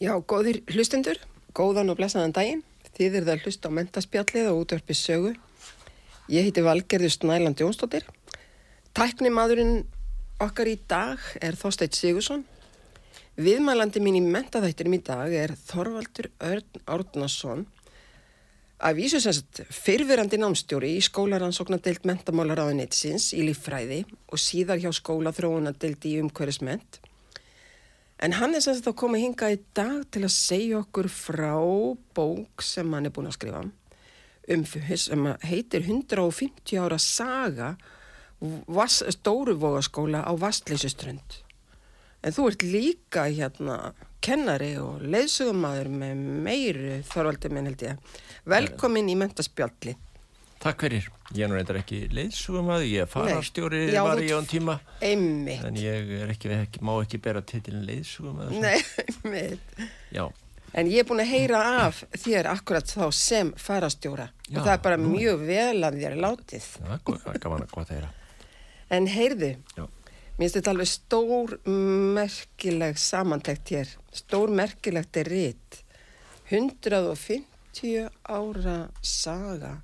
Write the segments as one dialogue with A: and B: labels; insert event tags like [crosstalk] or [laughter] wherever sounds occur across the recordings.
A: Já, góðir hlustendur, góðan og blessaðan daginn. Þið eru það að hlusta á mentaspjallið og útverfið sögu. Ég heiti Valgerður Snæland Jónsdóttir. Tækni maðurinn okkar í dag er Þorsteit Sigursson. Viðmælandi mín í mentaþættinum í dag er Þorvaldur Örn Árnason. Að vísu sem sagt fyrfirandi námstjóri í skólaransóknadeild mentamálaráðunitsins í líffræði og síðar hjá skólaþróunadeild í umhverfisment. En hann er sem sagt að koma hinga í dag til að segja okkur frá bók sem hann er búin að skrifa um sem heitir 150 ára saga Vass, Stóruvogaskóla á Vastleysuströnd. En þú ert líka hérna kennari og leysugumæður með meiru þorvaldi minn held ég. Velkomin í mentaspjalli.
B: Takk fyrir. Ég er nú reyndar ekki leiðsugum að ég er fararstjóri
A: Nei. Já,
B: var
A: þú-
B: ég á um tíma
A: Einmitt.
B: en ég er ekki, ekki, má ekki bera titilin leiðsugum að
A: Nei, einmitt.
B: Já,
A: En ég er búin að heyra af þér akkurat þá sem farastjóra
B: Já,
A: og það er bara
B: nú.
A: mjög vel að þér látið.
B: það er gó- það er gaman að gott að heyra.
A: En heyrðu,
B: Já.
A: mér finnst þetta alveg stór merkileg samantækt hér, stór merkilegt er rít. 150 ára saga,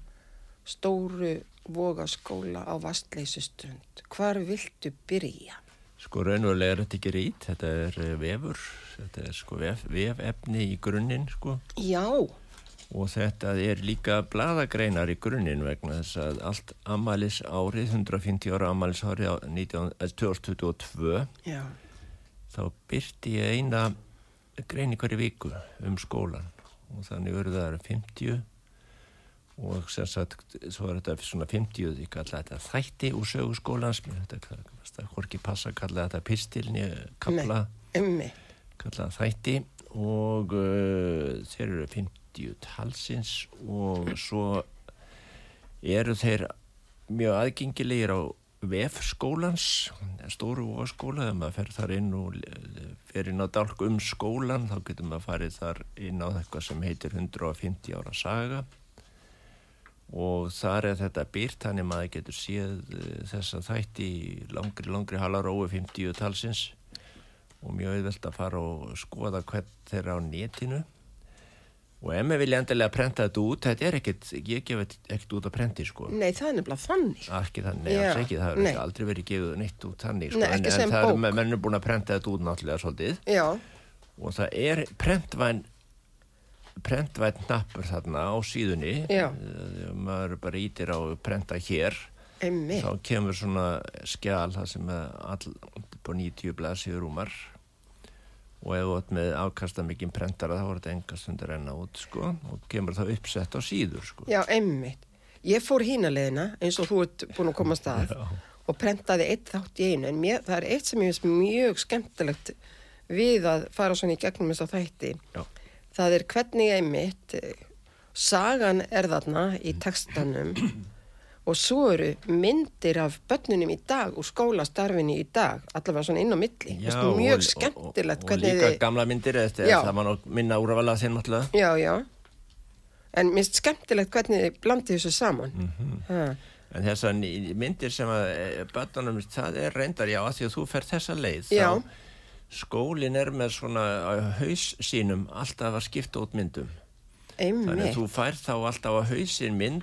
A: stóru vogaskóla á vastleysustund. Hvar viltu byrja?
B: Sko raunverulega er þetta ekki rít, þetta er eh, vefur, þetta er sko vef, vefefni í grunninn sko
A: Já,
B: og þetta er líka bladagreinar í grunninn vegna þess að allt amalis árið, 150 ára amalis árið á 19, eh, 2022
A: já,
B: þá byrti ég eina grein í hverju viku um skólan og þannig eru það 50 og sem sagt svo er þetta svona 50, ég kalla þetta þætti úr sögu skólans mér þetta það hvorki passa að kalla þetta pistilni kapla,
A: ummi,
B: kalla það þætti og uh, þeir eru 50 talsins og svo eru þeir mjög aðgengilegir á VF skólans, stóru og skóla, þegar maður fer þar inn og eh, fer inn á dálk um skólan, þá getur maður farið þar inn á eitthvað sem heitir 150 ára saga og þar er þetta byrt, þannig maður getur séð eh, þessa þætti í langri, langri halarói 50 talsins og mjög auðvelt að fara og skoða hvern þeirra á netinu og ef maður vilja endilega prenta þetta út, þetta er ekkert, ég gef þetta ekkert út að prenti sko.
A: nei það er nefnilega þannig.
B: Ekki þannig, nei,
A: Mm. Já,
B: alls ekki, það hefur
A: nei.
B: ekki aldrei verið gefið neitt út þannig, sko,
A: Nei, ekki
B: en,
A: sem
B: en það
A: bók.
B: er mennur búin að prenta þetta út náttúrulega svolítið
A: Já,
B: og það er prentvæn, prentvæn nappur þarna á síðunni,
A: Já.
B: Eh, maður bara ítir á prenta hér,
A: ummi,
B: þá kemur svona skjal það sem er all, på 90 blaðsíður rúmar og ef þú átt með afkasta mikið prentara þá voru þetta engast undir enna út sko og kemur það uppsett á síður sko.
A: já, ummi. Ég fór hína leiðina eins og þú ert búin að koma að stað.
B: Já.
A: og prentaði eitt þátt í einu en mér, það er eitt sem ég finnst mjög skemmtilegt við að fara svona í gegnum þess að þætti
B: Já.
A: það er hvernig ég mitt sagan er þarna í textanum og svo eru myndir af börnunum í dag og skólastarfinu í dag allavega svona inn á milli Mér finnst
B: og-
A: mjög
B: og-
A: skemmtilegt
B: og, og líka
A: hvernig þið
B: gamla myndir eftir,
A: Já.
B: það var nú minna úrvala þinn náttúrulega
A: já, já en mér finnst skemmtilegt hvernig þið blandið þessu saman mm
B: Mhm. en þessar ný- myndir sem að bötunum, það er reyndar já að því að þú fer þessa leið
A: Já.
B: þá skólin er með svona á haus sínum alltaf að skipta út myndum þannig að
A: einmitt,
B: þú fær þá alltaf á hausin mynd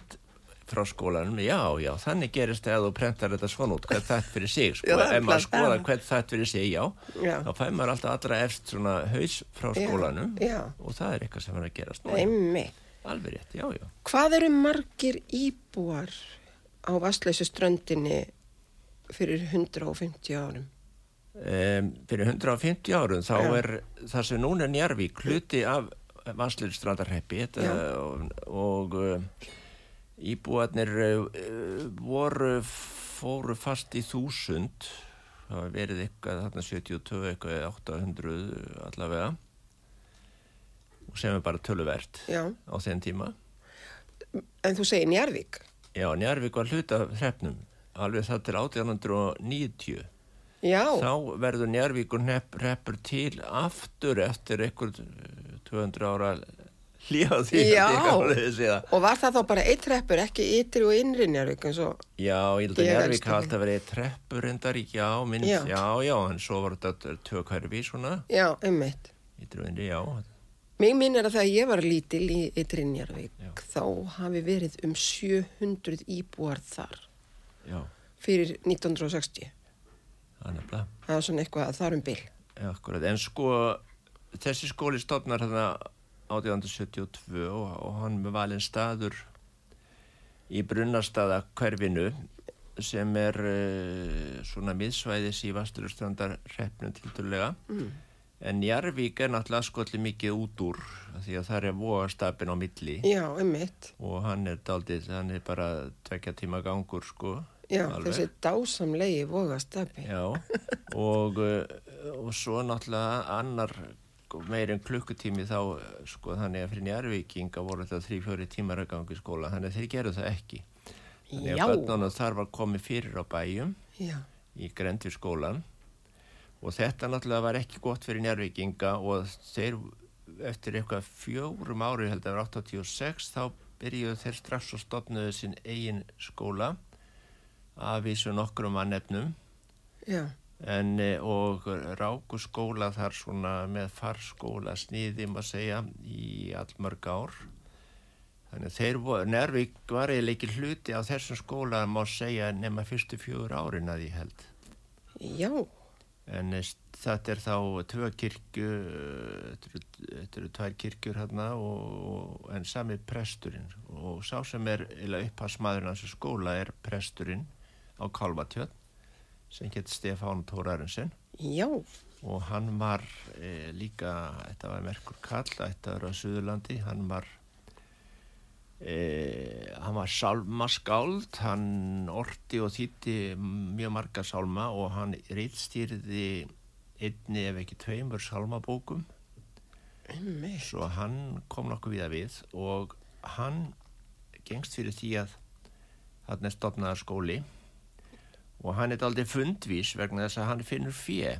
B: frá skólanum, já, já, þannig gerist það að þú prentar þetta svona út, hvert þætt fyrir sig sko,
A: Já, það er
B: ef maður
A: klart,
B: skoðar
A: já.
B: hvert þætt fyrir sig, já,
A: Já.
B: þá fær maður alltaf allra efst svona haus frá
A: Já,
B: skólanum
A: já.
B: og það er eitthvað sem er að gerast núna.
A: einmitt
B: Alveg rétt, já, já.
A: Hvað eru margir íbúar á vastleysu ströndinni fyrir 150 árum.
B: Um, fyrir 150 árum þá
A: Já.
B: er það sem núna er Njarvík hluti af Vasslurstrandarheppi
A: Já.
B: og, og uh, íbúarnir uh, voru fóru fast í þúsund það var verið eitthvað þarna 72 eitthvað eða 800 allavega og sem er bara töluvert
A: Já,
B: á þeim tíma
A: en þú segir Njarvík.
B: Já, Njarvík var hluti af hreppnum alveg það til 1890
A: Já,
B: þá verður Njarvíkur hnepp, hreppur til aftur eftir einhver 200 ára hlíða því
A: Já.
B: held ég að þið séð það.
A: og var það þá bara eitt reppur, ekki ytri og innri Njarvík eins og...
B: Já, ég held að
A: Ég
B: Njarvík
A: elska þig.
B: hafði alltaf verið treppur endar, já, minn,
A: Já.
B: já, já, en svo var þetta tvö hverfi svona,
A: Já, einmitt.
B: í dröðinni, já,
A: Mér minnir að þegar ég var lítil í ytri Njarvík, þá hafi verið um 700 íbúar þar
B: já,
A: fyrir 1960.
B: það er nefnilega,
A: Það var svona eitthvað að þar um bil.
B: já, akkurat, en sko, þessi skóli stofnar hérna 1872 og, og hann með valinn staður í brunnastaða hverfinu sem er uh, svona miðsvæðis í Vasturlustrandar hreppnum tildurlega en Jarvík er náttúrulega skollið mikið út úr af því að það er vóastapin á milli
A: Já, einmitt.
B: og hann er daldið, hann er bara tvekja tíma gangur sko
A: Já,
B: alveg.
A: þessi dásamlegi vogastabi.
B: Já, og, uh, og svo náttúrulega annar meir en klukkutími þá uh, sko þannig að fyrir njárvíkinga voru þetta þrý, fjóri tímar að ganga í skóla þannig að þeir gerðu það ekki þannig
A: Já.
B: að börnunum þar var komið fyrir á bæjum
A: Já,
B: í grendvir skólan og þetta náttúrulega var ekki gott fyrir njárvíkinga og þeir eftir eitthvað fjórum ári held að vera 86 þá byrjuðu þeir strax og stopnuðu sinn eigin skóla af vísu nokkrum mannefnum
A: já,
B: en eh, og ráku skóla þar svona með farskóla sniði maður segja í allmörg ár þannig að þeir voru, Nervík var eiginlega ekki hluti á þessum skóla má segja nema fyrstu fjögur árin að ég held
A: já,
B: en eh, st- þetta er þá tvö kirkju eh, þetta eru- þetta eru tvær kirkjur hérna og, og, en sami presturinn og sá sem er upphansmaðurinn þessu skóla er presturinn á Kálvatjörn sem getur Stefán Tórarensen
A: já,
B: og hann var e, líka, þetta var Merkur Kall þetta var á Suðurlandi hann var e, hann var sálmaskáld hann orti og þýtti mjög marga sálma og hann reyðstýrði einni ef ekki tveimur sálmabókum
A: einmitt.
B: svo hann kom nokkuð við að við og hann gengst fyrir því að þarna er stofnaðar skóli og hann er aldrei fundvís vegna þess að hann finnur fjö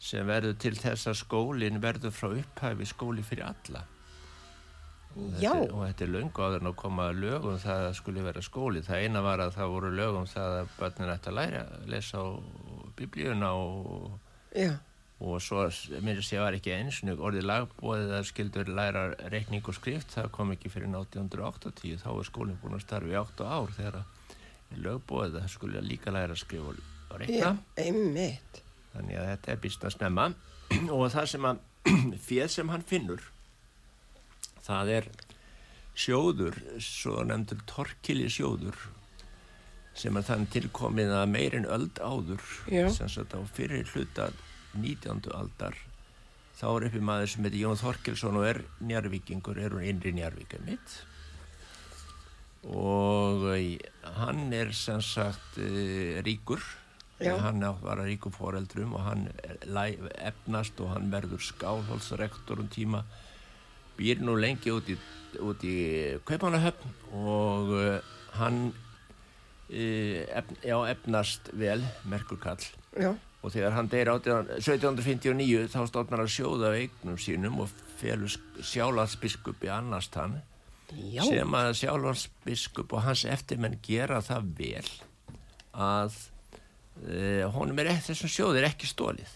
B: sem verður til þess að skólinn verður frá upphæfi skóli fyrir alla og þetta,
A: Já.
B: er- og þetta er löngu áður en að koma lögum það að skuli vera skóli það eina var að það voru lögum það að börnin ætti að læra að lesa á biblíuna og
A: Já,
B: og svo mér að segja var ekki einsunni orðið lagbóðið að skildur læra reikning og skrift, það kom ekki fyrir 1880, þá var skólinn búin að starfa í 8 ár þegar að lögbóðið að skuli líka læra að skrifa og- og reikna
A: já, einmitt.
B: þannig að þetta er býst að snemma [clears throat] og það sem að [clears throat] fjöð sem hann finnur það er sjóður svo nefndur torkili sjóður sem er þann tilkomið að meirin öld áður
A: Já.
B: sem sagt á fyrir hluta 19. aldar þá er uppi maður sem heitir Jón Þorkilsson og er njárvíkingur, er hún innri njárvíka mitt og eh, hann er sem sagt eh, ríkur
A: Já.
B: hann á- var að ríku foreldrum og hann er læ- efnast og hann verður skálholsrektor um tíma býr nú lengi út í, út í Kaupanahöfn og eh, hann eh, efn, já, efnast vel, merkur kall
A: Já,
B: og þegar hann deyr 18 1759 þá stofnar hann sjóða á eignum sínum og felur sjálfarsbiskupi annast hann
A: já,
B: sem að sjálfarsbiskup og hans eftirmenn gera það vel að e, honum er eftir þessum sjóðir ekki stólið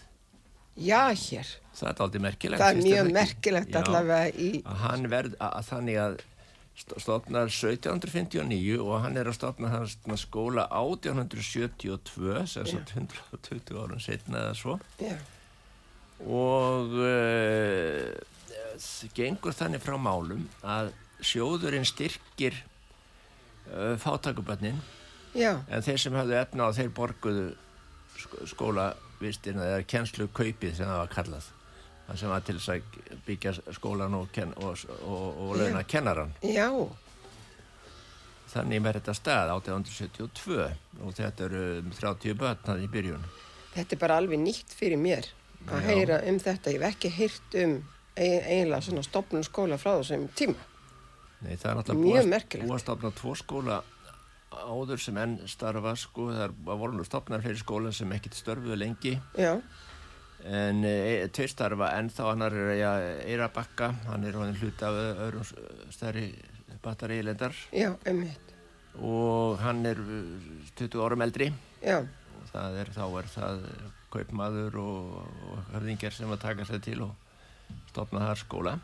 A: já hér.
B: það er aldrei merkilegt
A: Það er
B: finnst þér
A: mjög
B: ekki?
A: merkilegt
B: Já.
A: allavega í,
B: að hann verð að, að þannig að st- stofnar 1759 og hann er að stofna hans skóla 1872 sem svo 120 árum setna eða svo
A: já,
B: og uh, gengur þannig frá málum að sjóðurinn styrkir uh, fátakubönnin
A: Já.
B: eh, en þeir sem hafðu efna á þeir borguðu sk- skólavistina eða kennslu kaupið sem það var kallað það sem var til þess að byggja skólan og, ken, og, og, og launa kennaran
A: Já,
B: þannig með þetta stað 1872 og þetta eru um 30 börn þannig í byrjun
A: þetta er bara alveg nýtt fyrir mér að
B: Já.
A: heyra um þetta. Ég hef ekki heyrt um e- eiginlega svona stopnum skóla frá þessum tíma.
B: Nei, það er náttúrulega
A: Mjög
B: búið að-
A: merkilegt.
B: búið að stopna tvo skóla áður sem enn starfa sko, það er- það voru nú stopnar fyrir skóla sem ekkit störfuðu lengi
A: Já,
B: en e, tveir starfa en þá annar er ja, Eirabakka, hann er hann hluti af ö- öðrum s- stærri batarílendar
A: já, einmitt.
B: og hann er ö, 20 árum eldri
A: Já,
B: og það er, þá er það kaupmaður og, og höfðingar sem að taka sér til og stopna þar skóla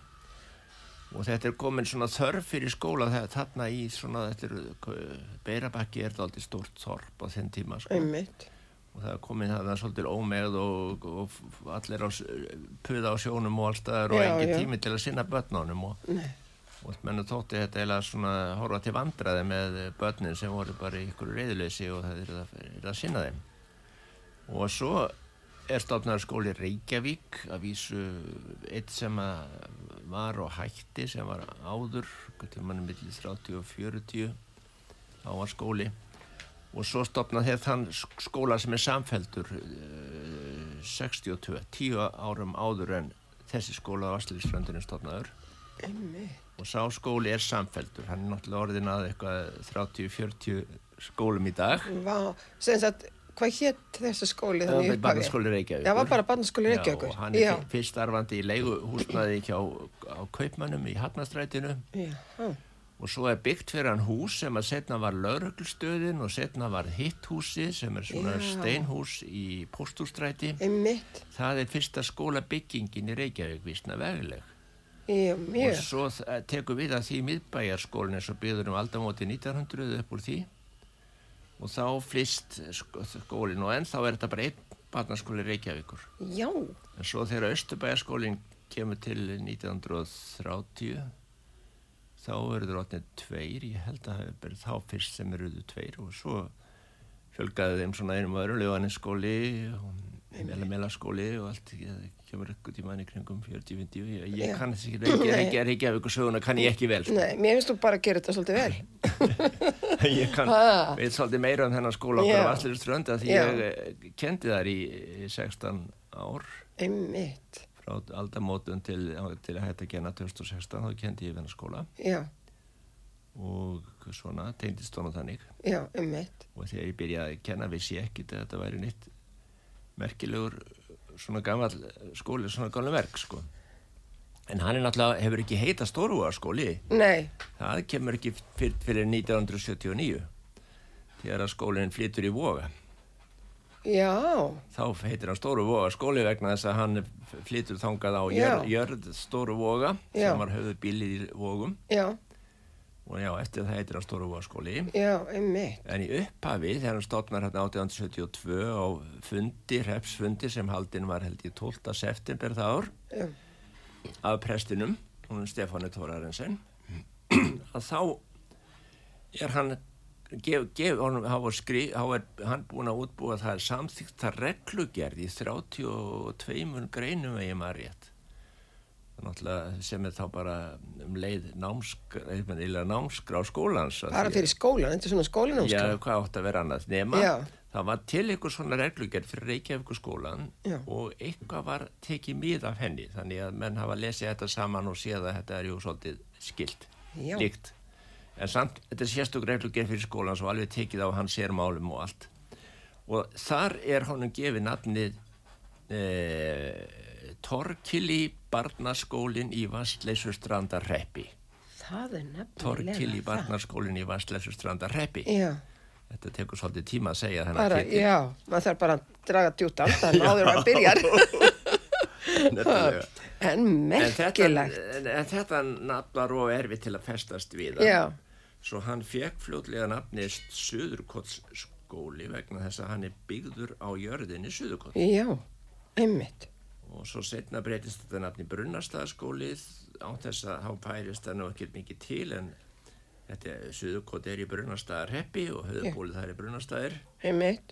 B: og þetta er komin svona þörf fyrir skóla þegar þarna í svona þetta er, Beirabakki er þetta aldrei stórt þorp á þenn tíma sko
A: einmitt.
B: og það er komin það svolítið ómegð og, og f- allir á, s- puða á sjónum og allstaðar og
A: Já,
B: engin
A: já.
B: tími til að sinna börnunum og,
A: Nei.
B: og menn þótti þetta eiginlega svona horfa til vandraði með börnin sem voru bara í ykkur reyðleysi og það er að, er að sinna þeim og svo er stofnar skóli Reykjavík að vísu eitt sem að var og hætti sem var áður til mannum millir 30 og 40 þá var skóli og svo stopna þeir þann sk- skóla sem er samfældur eh, 62, 10 árum áður en þessi skóla á Asliðslandinu stopnaður
A: Einmitt.
B: og sá skóli er samfældur hann er náttúrulega orðin að eitthvað 30-40 skólum í dag
A: Vá, sem sagt, hvað hétt þessi skóli
B: Það
A: þannig
B: var barnaskóli Reykjavíkur.
A: Já, var bara barnaskóli Reykjavíkur.
B: Já, og hann er fyr- fyrst starfandi í leiguhúsnaði hjá á kaupmannum í Hafnastrætinu
A: Já, já,
B: og svo er byggt fyrir hann hús sem að setna var lauruglustöðin og setna var hitt húsið sem er svona
A: Já.
B: steinhús í Póstúrstræti.
A: einmitt.
B: Það er fyrsta skólabyggingin í Reykjavík vísna vegileg.
A: Já,
B: Og
A: mjög.
B: svo þ- tekur við að því miðbæjarskólinn eins og byggður um aldamóti 1900 upp úr því og þá flist skólinn og ennþá er þetta bara einn barnaskóli Reykjavíkur.
A: Já,
B: En svo þegar Östubæjaskólinn kemur til 1930 þá eru það rótnið tveir, ég held að það hefur verið þá fyrst sem eru þau tveir og svo fjölgaði þeim svona einum og öðru löganinskóli og melaskóli og allt, það kemur ykkur tímaðin í kringum 40-50, ég, ég
A: Já.
B: kann þess ekki, ekki,
A: Nei.
B: ekki, ekki af ykkur söguna kann ég ekki vel, sko.
A: nei, mér finnst þú bara að gera þetta svolítið vel.
B: [laughs] ég kann,
A: Ha.
B: veit svolítið meira um þennan skóla okkur
A: Já.
B: á allir strönda því
A: Já.
B: ég eh, kendi þar í í 16 ár.
A: Einmitt,
B: frá aldamótum til, til að hætta að genna 2016 þá kendi ég þennan skóla
A: já,
B: og svona tegndist svona þannig
A: já, einmitt.
B: og þegar ég byrjaði að kenna vissi ég ekkit að þetta væri nýtt merkilegur svona gammal skóli, svona gammal verk sko en hann er náttúrulega, hefur ekki heita stórúa skóli
A: Nei,
B: það kemur ekki fyrir, fyrir 1979 þegar að skólinn flytur í voga
A: já,
B: þá heitir hann Stóru Voga skóli vegna þess að hann flytur þangað á jörð,
A: Já.
B: jörð Stóru Voga
A: Já.
B: sem var höfðu bílið í Vogum
A: já,
B: og já, eftir það heitir hann Stóru Voga skóli
A: já, einmitt.
B: en í upphafi þegar hann stofnar hérna 1872 á fundi, hrepsfundi sem haldinn var held ég 12. september það ár
A: Já,
B: af prestinum, hún er Stefáni Tórarensen að þá er hann gef, gef, honum, hann, var skri, hann, er, hann búin að útbúa það er samþykta reglugerð í 32 greinum eða ég maður rétt náttúrulega sem er þá bara um leið námskrá, námskrá skólans að
A: bara
B: því-
A: fyrir skólan, þetta er svona skólinámskrá.
B: Já, hvað átt að vera annað nema
A: sko. Já.
B: það var til einhver svona reglugerð fyrir Reykjavíkuskólan
A: Já.
B: og eitthvað var tekið mið af henni þannig að menn hafa lesið þetta saman og séð að þetta er jú svolítið skilt
A: Já.
B: líkt en samt, þetta er sérstök reglugerð fyrir skólan svo alveg tekið á hans sérmálum og allt og þar er honum gefið nafnið e, Torkili Barnaskólin í Vastleisurstranda Reppi
A: Það er nefnilega
B: Torkili
A: það.
B: Barnaskólin í Vastleisurstranda Reppi
A: Já,
B: Þetta tekur svolítið tíma að segja þennan
A: bara, já, maður þarf bara að draga djútt andan áður að byrjar.
B: [laughs] Nefnilega.
A: [laughs] en
B: En þetta,
A: merkilegt.
B: en, en þetta nafn var of erfið til að festast við hann.
A: Já.
B: Svo hann fekk fljótlega nafnið Suðurkottsskóli vegna þess að hann er byggður á jörðinni Suðurkott.
A: Já, einmitt.
B: Og svo setna breytist þetta nafni Brunnastaðaskólið án þess að hann færist það nú ekkert mikið til en Þetta er Suðurkot er í Brunastæðarheppi og höfðbólið þar er Brunastæðir
A: einmitt,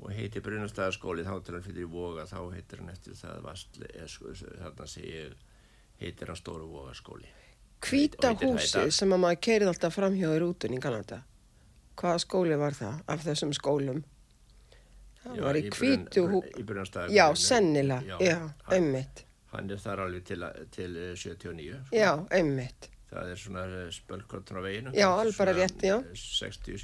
B: og heitir Brunastæðarskóli þá til hann fyrir í Voga þá heitir hann eftir það Vastli, eh, sko, þarna sé ég heitir hann Stóru Vogaskóli.
A: hvíta
B: Og heitir það í
A: húsið
B: dag.
A: sem að maður keirið alltaf framhjá í rútun í Kanada hvaða skóli var það af þessum skólum það
B: Já,
A: var í
B: í Brun-
A: hvítu hú
B: Brun- í Brunastaðarhúsinu.
A: já, sennilega,
B: Já.
A: já, einmitt
B: Hann er þar alveg til, til eh, 79. sko.
A: já, einmitt,
B: Það er svona eh, spölkottur á veginu.
A: Já, alveg bara
B: Svona eh,
A: rétt, já.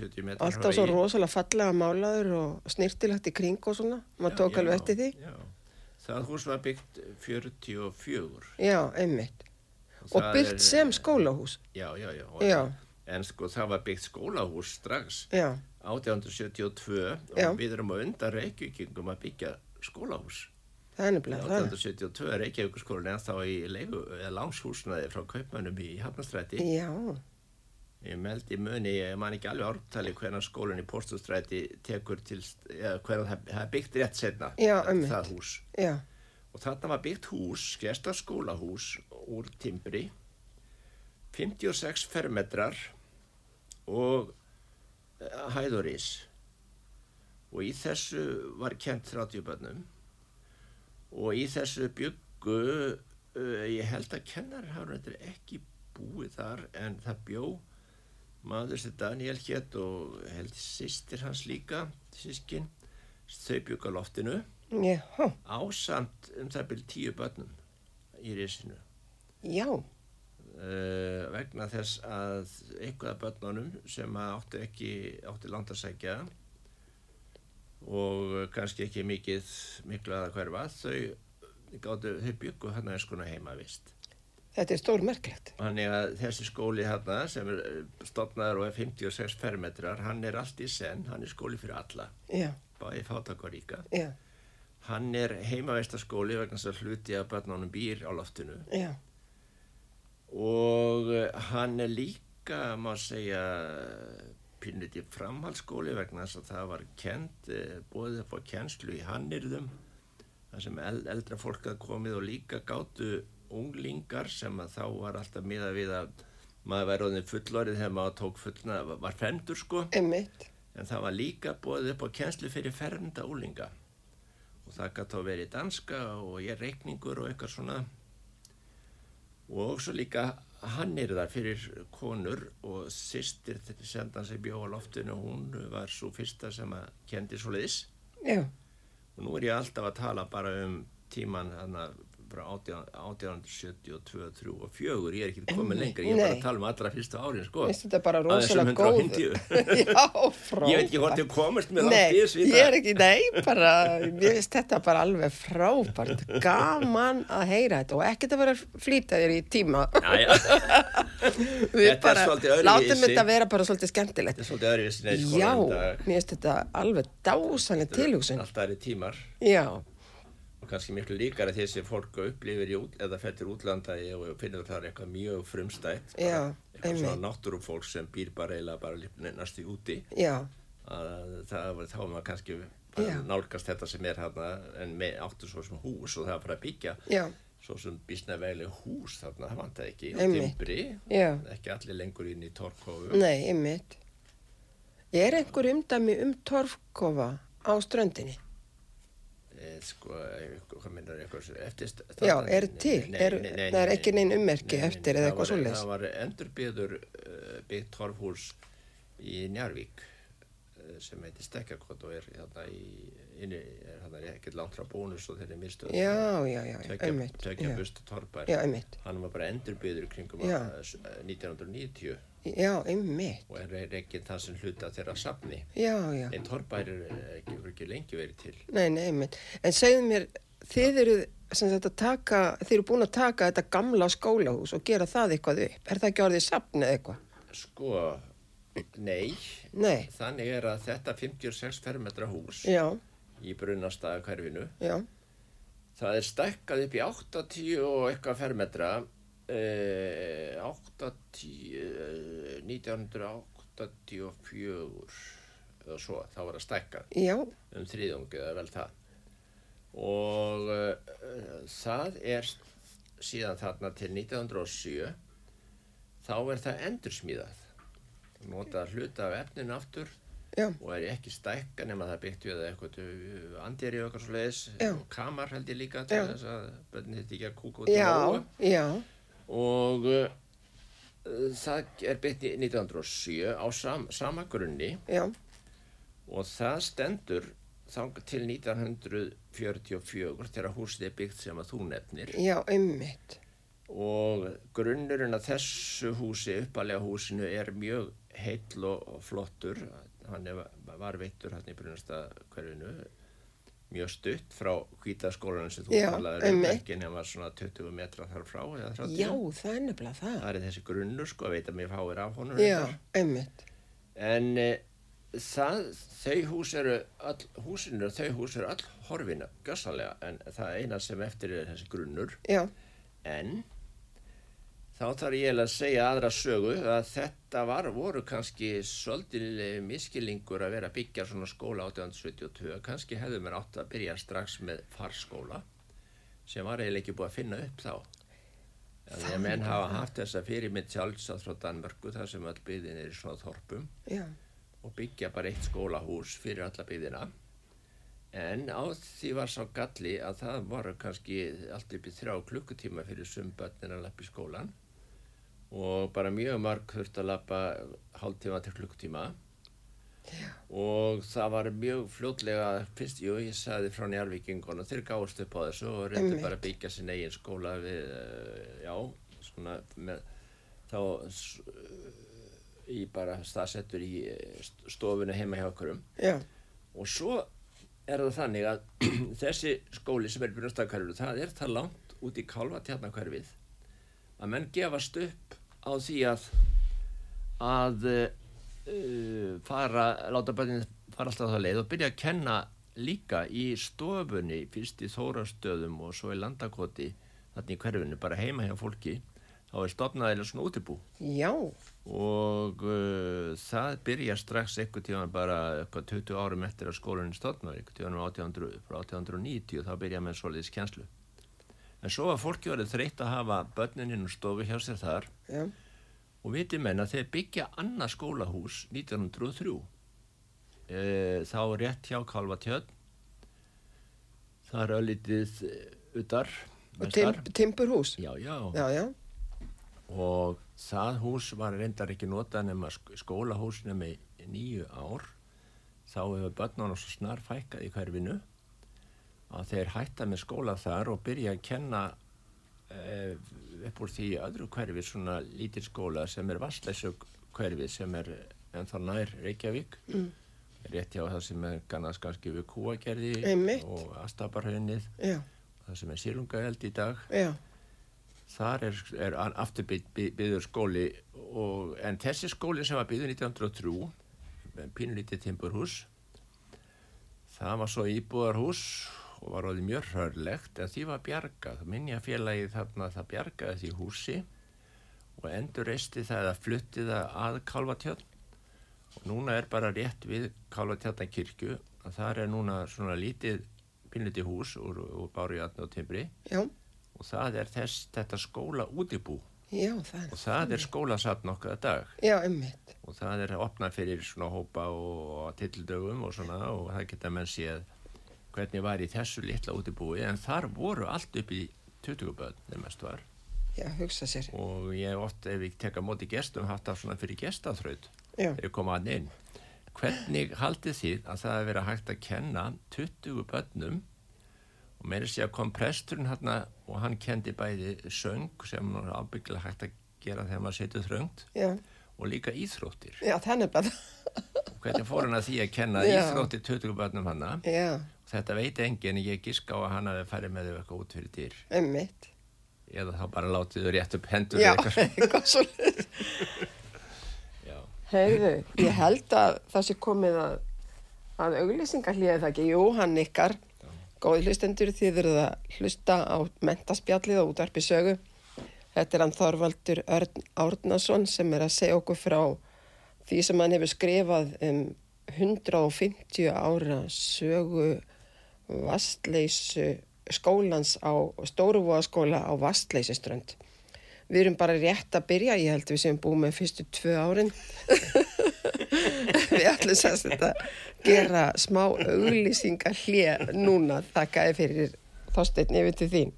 B: 60-70 metrar
A: alltaf svo rosalega fallega málaður og snirtilegt í kring og svona maður tók alveg eftir því
B: Já, það hús var byggt 44.
A: já, einmitt og
B: það er- eh,
A: byggt sem skólahús
B: Já, já, já.
A: Já.
B: En sko það var byggt skólahús strax
A: já,
B: 1872
A: Já.
B: og við erum að undan Reykjavíkingum að byggja skólahús.
A: það er nefnilega það
B: 1872 er Reykjavíkurskólinn ennþá í leigu, eða lánshúsnaði frá kaupmönnum í Hafnastræti.
A: já,
B: Ég meldi í muni, ég man ekki alveg ártali hvernig skólinn í Póstustræti tekur til, eða hvernig það, það er byggt rétt setna.
A: Já,
B: það,
A: einmitt.
B: það hús.
A: já,
B: Og þarna var byggt hús, gestarskólahús úr timbri, 56 fermetrar og eh, hæðurís. Og í þessu var kent 30 bönnum og í þessu byggu, uh, ég held að kennar hafa þetta ekki búið þar en það bjó maður sem Daniel hétt og held sýstir hans líka, sískin, þau byggu á loftinu
A: já, já,
B: ásamt um það byrjum tíu börnum í risinu
A: já.
B: uh, vegna þess að eitthvað af börnunum sem að áttu ekki áttu landarsækja og kannski ekki mikið miklu að hverfa þau gáttu, þau byggu hann eins konar heimavist
A: Þetta er stór merklegt.
B: Þannig að þessi skóli hérna sem er stopnaður og er 56 fermetrar, hann er allt í senn, hann er skóli fyrir alla,
A: Já,
B: bæði fátak og ríka.
A: já,
B: Hann er heimavistaskóli vegna þess að hluti að börnunum býr á loftinu.
A: já,
B: og eh, hann er líka, má segja, pínlítið framhaldsskóli vegna þess að það var kent, bóðið upp á kennslu í hannirðum, þar sem el, eldra fólk að komið og líka gátu unglingar sem að þá var alltaf miða við að maður væri orðin fullorið þegar maður tók fullna, var fremdur sko,
A: emmitt,
B: en það var líka bóðið upp á kennslu fyrir fermda unglinga og það gæti þá verið danska og ég reikningur og eitthvað svona og svo líka hann er þar fyrir konur og sýstir þetta sendan sem bjó á loftinu hún var svo fyrsta sem að kendi svo leiðis
A: já,
B: og nú er ég alltaf að tala bara um tíman þannig frá 18- 1872, 3 og 4 ég er ekki komin lengur, ég er bara
A: Nei.
B: að tala um allra fyrstu árin sko
A: finnst þetta bara
B: Að þessum
A: rosalega góð.
B: 150.
A: [laughs] já, frábært.
B: Ég veit ekki hvort þið komist með langt
A: Nei,
B: í þessu í
A: ég
B: dag.
A: er ekki, nei, bara, mér finnst þetta bara alveg frábært, gaman að heyra þetta og ekkert að vera að flýta þér í tíma. [laughs]
B: Jæja,
A: Við
B: Þetta er svolítið öðruvísi.
A: Látum þetta vera bara svolítið skemmtilegt.
B: þetta er svolítið öðruvísin eða
A: Já,
B: skólanum
A: mér finnst þetta alveg dásanlega tilhugsun.
B: Alltaf er tímar
A: Já,
B: og kannski miklu líkara því sem fólk upplifir í út, eða fættir útlanda í- og finnur það er eitthvað mjög frumstætt bara
A: Já,
B: eitthvað
A: einmitt.
B: svona náttúrufólk sem býr bara eiginlega bara lifni næstu úti
A: já,
B: að það var þá er maður kannski bara
A: Já.
B: nálgast þetta sem er hérna en með áttu svo sem hús og það var bara að byggja
A: já,
B: svo sem bísnavegli hús þarna það vantaði ekki og
A: Einmitt.
B: timbri
A: Já.
B: ekki allir lengur inn í torkofu
A: nei, emmitt. Er einhver umdæmi um torfkofa á ströndinni?
B: Eh, sko, eh, hvað minnar eitthvað sem- eftir
A: Já, eru til? Eru- það er ekki nein ummerki eftir eða
B: það
A: eitthvað
B: var-
A: svoleiðis?
B: Það var endurbyður uh, byggt torfhús í Njarvík uh, sem heitir Stekkarkot og er hérna í, inni, er hérna ekkert langt frá bónus og þeirri mistu
A: Já, já, já, já, einmitt.
B: tökja
A: já.
B: bustu torfbær
A: Já, einmitt.
B: hann var bara endurbyður kringum
A: Já.
B: að, eh, 1990
A: Já, einmitt.
B: og er ekki það sem hluta þeirra safni
A: Já, já.
B: en torfbær er eh, ekki, hefur ekki lengi verið til
A: Nei, nei, einmitt. En segðu mér, þið eru sem sagt að taka, þið eru búin að taka þetta gamla skólahús og gera það eitthvað upp. Er það ekki orðið safn eða eitthvað?
B: sko, nei
A: Nei.
B: Þannig er að þetta 56 fermetra hús
A: Já,
B: í brunastæðakverfinu,
A: já,
B: það er stækkað upp í 80 og eitthvað fermetra, eh, 80, eh, 1984 eða svo, þá var það stækkað
A: já,
B: um þriðungi eða vel það. Og uh, það er síðan þarna til 1907, þá er það endursmíðað nota hluta af efninu aftur
A: já,
B: og er ekki stækka nema það byggt við eitthvað til andjari og eitthvað svo leiðis
A: Já.
B: og kamar held ég líka til
A: Já.
B: þess að bönni þetta ekki að kúka út í
A: já,
B: móu.
A: já,
B: og uh, það er byggt í 1907 á sam, sama grunni
A: já,
B: og það stendur þá til 1944 þegar húsið er byggt sem að þú nefnir
A: já, einmitt.
B: og grunnurinn að þessu húsi, uppalega húsinu, er mjög heill og og flottur. Hann er, var veittur hann í brunasta hverfinu, mjög stutt frá hvítaskólanum sem þú
A: Já,
B: talaður um,
A: einmitt.
B: ekki nema svona 20 metra þar frá eða 30.
A: Já, það er nefnilega það.
B: Það er þessi grunnur, sko, að veit að mér fáir af honum.
A: Já,
B: reyndar.
A: einmitt.
B: En e, það, þau hús eru, all, húsinu, þau hús eru all horfina, gassalega, en það eina sem eftir er þessi grunnur.
A: Já,
B: En þá þarf ég eiginlega að segja aðra sögu að þetta var, voru kannski svolítið miskilingur að vera að byggja svona skóla 1872. Kannski hefðu mér átt að byrja strax með farskóla sem var eiginlega ekki búið að finna upp þá. Þegar menn hafa haft þessa fyrirmynd sjálfsátt frá Danmörku þar sem öll byggðin er í svona þorpum
A: já,
B: og byggja bara eitt skólahús fyrir alla byggðina. En á því var sá galli að það var kannski allt upp í þrjá klukkutíma fyrir sumbötnin að lappa í skólan og bara mjög marg þurft að lappa hálftíma til klukkutíma og það var mjög fljótlega fyrst, jú, ég sagði frá njárvíkingun og þeir gáðust upp á þessu og reyndu
A: Einmitt.
B: bara að byggja sinn eigin skóla við, eh, já, svona með, þá s- í bara staðsettur í eh, st- stofunni heima hjá okkurum
A: já,
B: og svo er það þannig að [clears throat] þessi skóli sem er brunastakverfið, það er það langt út í kálfatjarnakverfið að menn gefast upp á því að að uh, fara, láta börnin fara alltaf það leið og byrja að kenna líka í stofunni fyrst í Þórastöðum og svo í Landakoti þannig í hverfinu, bara heima hjá fólki þá er stopnaðilega svona útibú
A: já,
B: og uh, það byrja strax einhvern tíðan bara eitthvað 20 árum eftir að skólinni stofnar einhvern tíðan um 1800, frá 1890 þá byrja menn svoleiðis kennslu en svo var fólki verið þreytt að hafa börnininn og stofu hjá sér þar
A: já,
B: og viti menn að þeir byggja annað skólahús 1903 e, þá rétt hjá Kalvatjörn það er öllítið eh, utar
A: og tim, timburhús.
B: já, já,
A: Já, já,
B: og það hús var reyndar ekki notað nema sk- skólahús nema í nýju ár þá hefur börnunum svo snar fækkað í hverfinu að þeir hætta með skóla þar og byrja að kenna eh, upp úr því öðru hverfi svona lítil skóla sem er vastleysu hverfi sem er ennþá nær Reykjavík mm. rétt hjá það sem er kannast kannski við Kúagerði
A: Einmitt.
B: og Astabarhaunnið
A: já, það
B: það sem er Silungaeld í dag
A: já,
B: Þar er, er aftur byggður skóli og, en þessi skóli sem var byggður 1903 pínulítið timburhús það var svo íbúðarhús og var orðið mjög hörlegt en því var bjargað, minnjafélagið þarna það bjargaði því húsi og endur reisti það að flutti það að Kálvatjörn og núna er bara rétt við Kálvatjörna kirkju að þar er núna svona lítið pínlítið hús úr, úr bárjörn og timbri
A: já,
B: og það er þess, þetta skóla útibú
A: já, það
B: og
A: er,
B: það er skólasatn okkar dag
A: já, einmitt.
B: og það er opnað fyrir svona hópa og tildögum og svona og það geta menn séð hvernig var í þessu litla útibúi en þar voru allt upp í 20 börn þegar mest var
A: Já, hugsa sér.
B: og ég hef oft ef ég tek á móti gestum haft það svona fyrir gestaþraut
A: Já,
B: þegar ég kom að inn hvernig haldið þið að það hefur verið hægt að kenna 20 börnum og meira sé að kom presturinn hann og hann kendi bæði söng sem er ábyggilega hægt að gera þegar maður setur þröngt
A: já,
B: og líka íþróttir
A: já, það er nefnilega það.
B: og hvernig fór hann að því að kenna
A: Já.
B: íþróttir 20 börnum hann
A: Já,
B: þetta veit enginn en ég giska á að hann hafi farið með þau eitthvað út fyrir dyr
A: einmitt.
B: eða þá bara látið þau rétt upp hendur
A: Já,
B: eða eitthvað.
A: eitthvað svo
B: Já.
A: Heyrðu, ég held að það sé komið að, að auglýsingarlíði það ekki. Jú, hann ykkar, góði hlustendur, þið eruð að hlusta á mentaspjallið og útvarpi sögu. Þetta er hann Þorvaldur Örn Árnason sem er að segja okkur frá því sem hann hefur skrifað um 150 ára sögu vastleysu skólans á Stóruvóaskóla á vastleysiströnd. Við erum bara rétt að byrja, ég held við sem búum með fyrstu tvö árin. [laughs] við ætlum sérst þetta gera smá auglýsinga hlið núna þakkaði fyrir þorsteinn yfir til þín.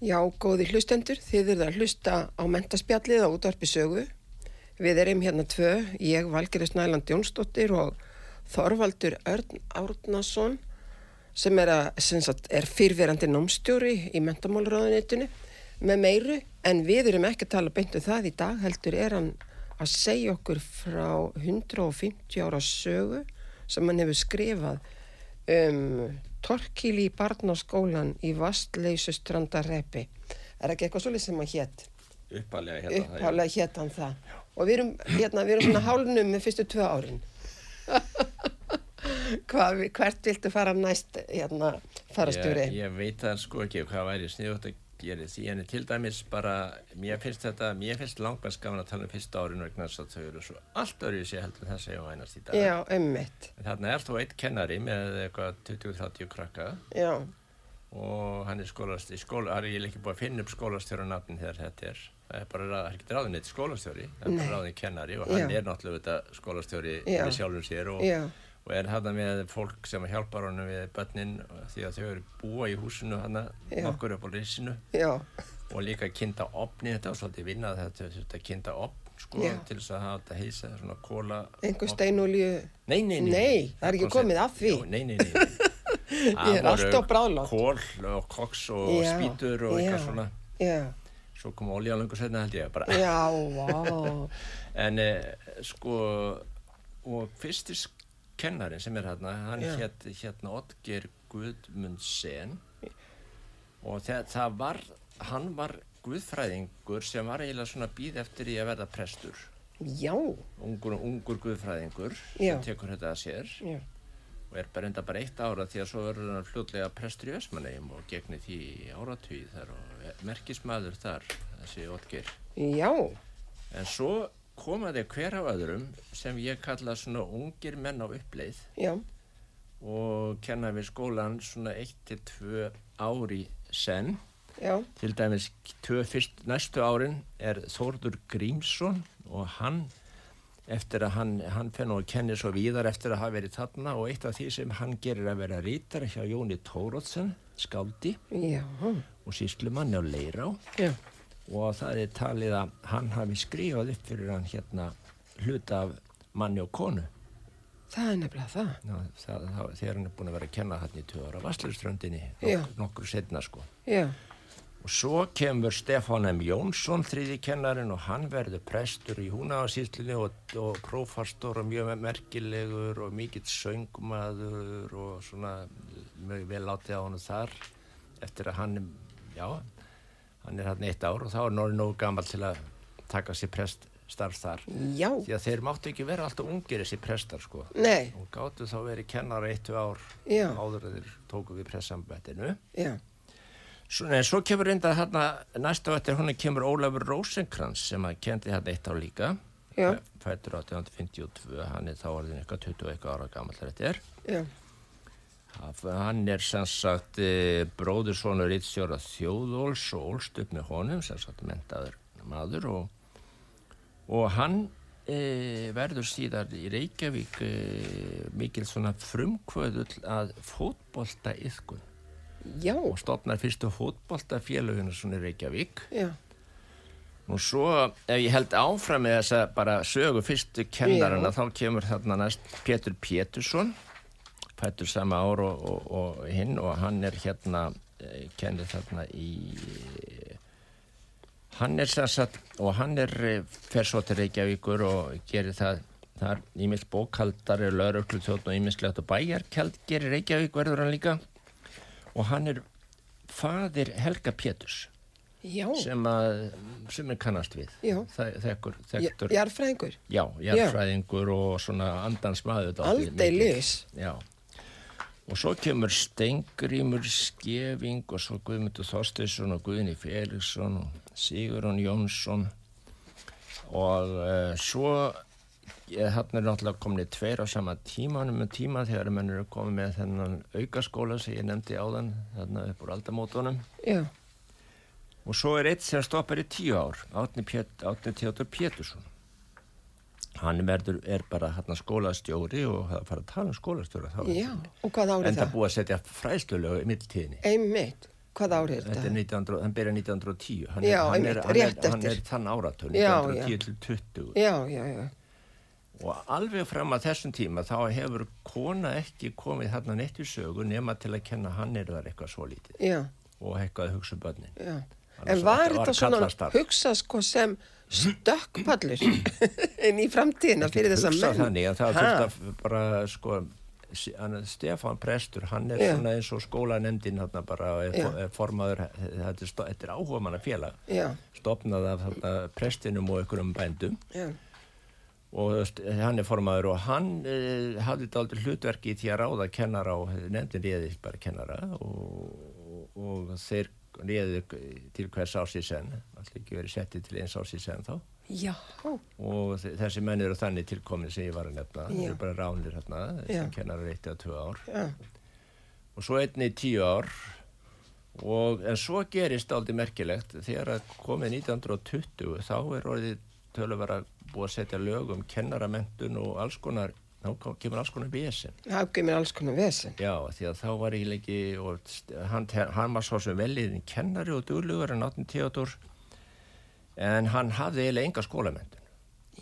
A: Já, góði hlustendur, þið eruð að hlusta á mentaspjallið á útvarpi sögu. Við erum hérna tvö, ég Valgerður Snæland Jónsdóttir og Þorvaldur Örn Árnason sem er, að, sem sagt, er fyrverandi námstjóri í mentamálráðunitinu með meiru en við erum ekki að tala beint um það í dag heldur er hann að segja okkur frá 150 ára sögu sem hann hefur skrifað um Torkili barnaskólan í vastleysu strandarreppi. Er ekki eitthvað svolítið sem hann hétt?
B: uppalega hérna
A: Upphálega hétt hann það. Og við erum, hérna, við erum
B: [clears throat]
A: svona hálnum með fyrstu tvö
B: [laughs]
A: árin. Hva, hvert viltu fara næst, hérna, farastjóri?
B: Ég, ég veit það sko ekki hvað væri sniðvægt að gera því en til dæmis bara, mér finnst þetta, mér finnst langbæst gaman að tala um fyrsta árin vegna þess að þau eru svo allt öðru sér heldur en það segjum vænast í dag.
A: Já, ummitt.
B: En þarna er þó eitt kennari með eitthvað 20-30 krakka
A: Já,
B: og hann er skólast í skóla, það er ég ekki búið að finna upp skólastjóra nafnin þegar þetta er. Það er bara, ráð- það er ekki ráðin eitt skólastjóri, það er bara ráðin kennari og hann
A: Já.
B: er náttúrulega þetta skólastjóri
A: Já.
B: með sjálfum sér og,
A: Já.
B: og er þarna með fólk sem hjálpar honum við börnin því að þau eru búa í húsinu hann
A: Já.
B: nokkur upp á risinu
A: já,
B: og líka kynda opni þetta og svolítið vinna þetta, þetta kynda opn sko
A: Já.
B: til þess að hafa þetta heisa svona kóla
A: einhver steinolju.
B: Nei, nei, nei.
A: Nei, það er ekki
B: kom
A: komið
B: sér-
A: að því.
B: Jú, nei,
A: [laughs]
B: nei, nei. Það
A: Ég er
B: voru
A: alltaf bráðlátt.
B: Kól og koks og
A: Já,
B: spýtur og
A: já,
B: eitthvað svona.
A: Já,
B: Svo kom olja langur setna held ég bara.
A: já,
B: [laughs]
A: vá.
B: En eh, sko, og fyrstis kennarinn sem er hérna, hann
A: Já.
B: hétt hérna Oddgeir Guðmundsen og það, það var, hann var guðfræðingur sem var eiginlega svona býð eftir í að verða prestur.
A: Já,
B: Ungur, ungur guðfræðingur
A: Já.
B: sem tekur þetta að sér
A: já,
B: og er bara enda bara eitt ára því að svo verður hann fljótlega prestur í Vestmannegjum og gegni því í áratugi þar og er merkismæður þar, þessi Otgir.
A: já,
B: En svo koma þeir hver af öðrum sem ég kalla svona ungir menn á uppleið
A: já,
B: og kenna við skólan svona 1-2 ári senn.
A: já,
B: Til dæmis tvö fyrst, næstu árin er Þórður Grímsson og hann eftir að hann, hann fenn og kenni svo víðar eftir að hafa verið þarna og eitt af því sem hann gerir er að vera rítar hjá Jóni Tórótsen, skáldi
A: já,
B: og síslumanni á Leirá
A: já,
B: og það er talið að hann hafi skrifað upp fyrir hann hérna hluta af manni og konu.
A: það er nefnilega það.
B: Ná, það, það, þegar hann er búin að vera að kenna hann í tvö ára Vasslurströndinni
A: Já.
B: nok nokkur setna sko.
A: Já,
B: Og svo kemur Stefán M. Jónsson, þriði kennarinn og hann verður prestur í húnaðarsýslinni og, og prófastor og mjög merkilegur og mikill söngmaður og svona mjög vel látið á hann þar eftir að hann, já, hann er hann eitt ár og þá er Nóri nógu gammal til að taka sér prest þar.
A: já,
B: Því að þeir máttu ekki vera alltaf ungir þessi prestar sko
A: nei,
B: og gáttu þá verið kennara eittu ár
A: Já.
B: áður að þeir tóku við pressambettinu.
A: já,
B: Svo, nei, svo kemur reynda þarna, næsta á eftir hún kemur Ólafur Rósenkrans sem að kendi þarna eitt á líka.
A: Já.
B: Fæ- Fæddur 1852, hann er þá orðin eitthvað 20 eitthvað ára gammal þetta er.
A: já,
B: Af- Hann er sem sagt eh, bróðursonur ítstjóra Þjóðóls og ólst upp með honum, sem sagt mentaður maður og, og hann e, verður síðar í Reykjavík e, mikil svona frumkvöðull að fótbolta yðkun
A: já,
B: og stopnar fyrstu fótbolta félaginu svona í Reykjavík
A: já,
B: og svo ef ég held áfram með þessa bara sögu fyrstu kennarana þá kemur þarna næst Pétur Pétursson fættur sama ár og, og, og hinn og hann er hérna eh, kennir þarna í hann er sem sagt og hann er eh, fer svo til Reykjavíkur og gerir það þar ímill bókaldari, lauröklu þjótt og ímillslegt og bæjarkjald gerir Reykjavík verður hann líka og hann er faðir Helga Péturs
A: já,
B: sem að sem er kannast við
A: Já.
B: Þe- þekkur,
A: já,
B: þekkur, já,
A: jarðfræðingur,
B: já, jarðfræðingur og svona andans maður dálítið mikill.
A: aldeilis,
B: já og svo kemur Stengrimur Skeving og svo Guðmundur Þorsteinsson og Guðni Felixson og Sigurðan Jónsson og uh, svo ég, þarna er náttúrulega komin í tveir á sama tímanum með tíma þegar menn eru komið með þennan aukaskóla sem ég nefndi áðan þarna upp úr aldamótunum
A: já,
B: og svo er eitt sem stoppar í tíu ár Átni, Pét, Átni Teodor Pétursson hann verður, er bara hann skólastjóri og það er að fara að tala um skólastjóra þá
A: já, og hvað árið
B: en það
A: það?
B: búið að setja fræðslulegu í mittiltíðinni
A: Einmitt, hvað árið
B: Þetta er
A: þetta?
B: 1900, hann byrja 1910, hann,
A: Já,
B: er, hann,
A: einmitt,
B: er, hann,
A: rétt
B: er, hann er
A: eftir.
B: þann áratun,
A: Já,
B: 1910
A: já.
B: til 20
A: Já, já, já,
B: og alveg fram að þessum tíma þá hefur kona ekki komið þarna neitt í sögu nema til að kenna hann er þar eitthvað svo lítið
A: já,
B: og eitthvað að hugsa um börnin.
A: já.
B: Annars
A: En var
B: þetta var
A: þetta svona
B: kallastarf.
A: hugsa sko sem
B: [coughs]
A: stökkpallur en í framtíðina fyrir þess
B: Hugsa
A: að menn?
B: þannig að það
A: Ha,
B: þurft að bara sko, s- hann- Stefán Prestur, hann er
A: Já.
B: svona eins og skólanemdin þarna bara og er,
A: Já.
B: er formaður, þetta er, sto- þetta er áhuga manna félag,
A: Já,
B: stopnað af þarna prestinum og einhverjum bændum.
A: já,
B: og st- hann er formaður og hann eh, hafði þetta aldrei hlutverki í því að ráða kennara og nefndin réði bara kennara og, og, og þeir réðu til hvers árs í senn allir ekki verið settið til eins árs í senn þá
A: já,
B: og þe- þessi menn eru þannig tilkomin sem ég var að nefna, þeir
A: Já.
B: eru bara ránir hérna
A: Já.
B: sem kennarar eitt eða tvö ár
A: já,
B: og svo einni í tíu ár og, en svo gerist aldrei merkilegt þegar að komið 1920 þá er orðið töluvera búið að setja lög um kennaramentun og alls konar, þá kom- kemur alls konar vesen.
A: það kemur alls konar vesen.
B: Já, því að þá var ég lengi og st- hann, hann var svo sem veliðin kennari og duglugur en 18 teatur en hann hafði eiginlega enga skólamentun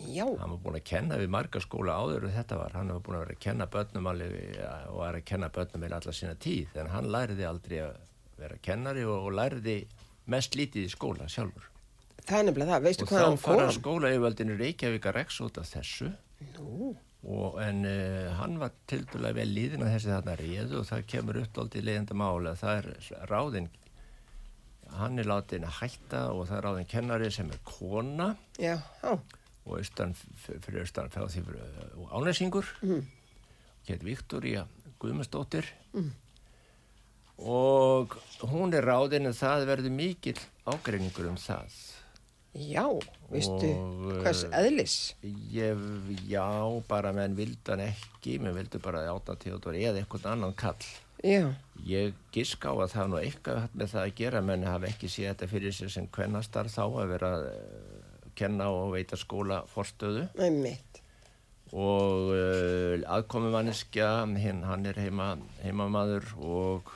A: Já,
B: hann var búin að kenna við marga skóla áður og þetta var, hann var búin að vera að kenna börnum alveg eh, og var að kenna börnum með alla sína tíð, en hann læriði aldrei að vera kennari og, og læriði mest lítið í skóla sjálfur
A: það er nefnilega það, veistu
B: og
A: hvað hann
B: þá fara sko-
A: kom?
B: skóla yfirvaldinu Reykjavík að reks út af þessu
A: Nú,
B: og en uh, hann var tildulega vel líðin að þessi þarna réðu og það kemur upp aldrei leiðandi mála, það er ráðin hann er látin að hætta og það er ráðin kennari sem er kona
A: já, já,
B: og austan, f- fyrir austan frá því fyrir, uh, og ánæsingur mm. hétt Viktoria Guðmundsdóttir og hún er ráðin en það verður mikill ágreiningur um það
A: já, veistu
B: Og,
A: hvers
B: eh,
A: eðlis?
B: ég, já, bara menn vildan ekki menn vildu bara átna teodur eða eitthvað annan kall
A: Já,
B: ég gisk á að það er nú eitthvað haft með það að gera menn hafa ekki séð þetta fyrir sér sem kvennastar þá að vera uh, kenna og veita skóla forstöðu
A: einmitt,
B: og uh, aðkomi manneskja hinn, hann er heima, heimamaður og,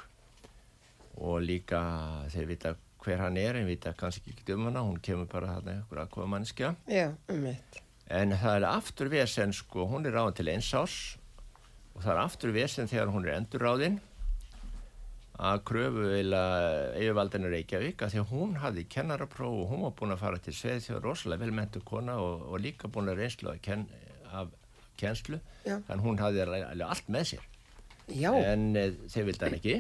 B: og líka þeir vita hver hann er en vita kannski ekki um hana hún kemur bara þarna ykkur aðkomi manneskja
A: já, einmitt,
B: en það er aftur vesen sko, hún er ráðin til eins árs og það er aftur vesen þegar hún er endurráðin að kröfu eila yfirvaldinu Reykjavík að því að hún hafði kennarapróf og hún var búin að fara til sveið því að rosalega velmentu kona og, og líka búin að reynslu að ken, af kennslu
A: Já.
B: þannig hún hafði alveg allt með sér
A: já,
B: en e, þeir vildi hann ekki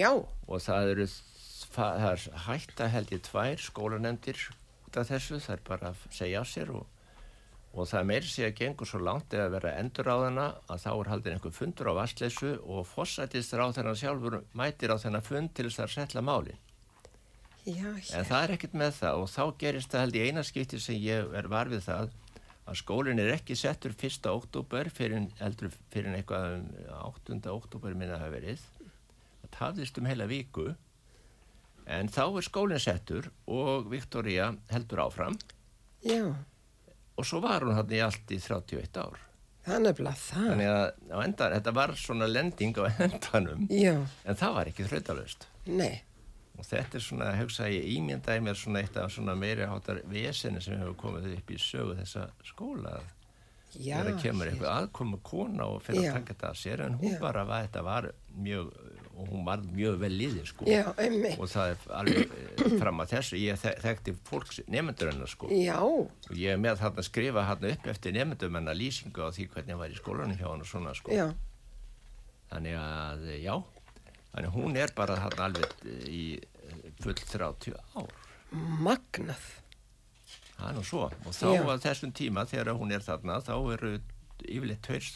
A: já,
B: og það eru þ- fa- það er hætta held ég tvær skólanemndir út af þessu, það er bara að segja af sér og, og það meir sig að gengur svo langt eða vera endur á þennan að þá er haldin einhver fundur á vastleysu og fossætist á þennan sjálfur mætir á þennan fund til þess að setla málin
A: já,
B: en það er ekkert með það og þá gerist það held í eina skipti sem ég er var við það að skólinn er ekki settur 1. oktober fyrir, eldur, fyrir eitthvað um 8. oktober minna hafa verið það tafðist um heila viku en þá er skólinn settur og Viktoria heldur áfram
A: já,
B: og svo var hún hann í allt í 31 ár
A: það er nefnilega það,
B: þannig að á endan, þetta var svona lending á endanum
A: já,
B: en það var ekki þrautalöst
A: nei,
B: Og þetta er svona, hugsa ég, ímyndaði mér svona eitt af svona meiri hátar veseni sem hefur komið upp í sögu þessa skóla.
A: já,
B: Þegar kemur eitthvað aðkoma kona og fyrir
A: Já.
B: að taka þetta að sér, en hún
A: Já.
B: bara var, þetta var mjög, og hún var mjög vel liðið sko.
A: já, einmitt,
B: Og það er alveg eh, fram að þessu, ég þek- þekkti fólks nefndur hennar sko.
A: já,
B: Og ég er með þarna að skrifa hann upp eftir nefndum hennar lýsingu á því hvernig var í skólanum hjá hann og svona sko.
A: já,
B: Þannig að, eh, já, þannig að hún er bara þarna alveg eh, í eh, full 30 ár.
A: magnað,
B: Það er nú svo. Og þá
A: Já.
B: að þessum tíma þegar hún er þarna, þá eru yfirleitt tveir,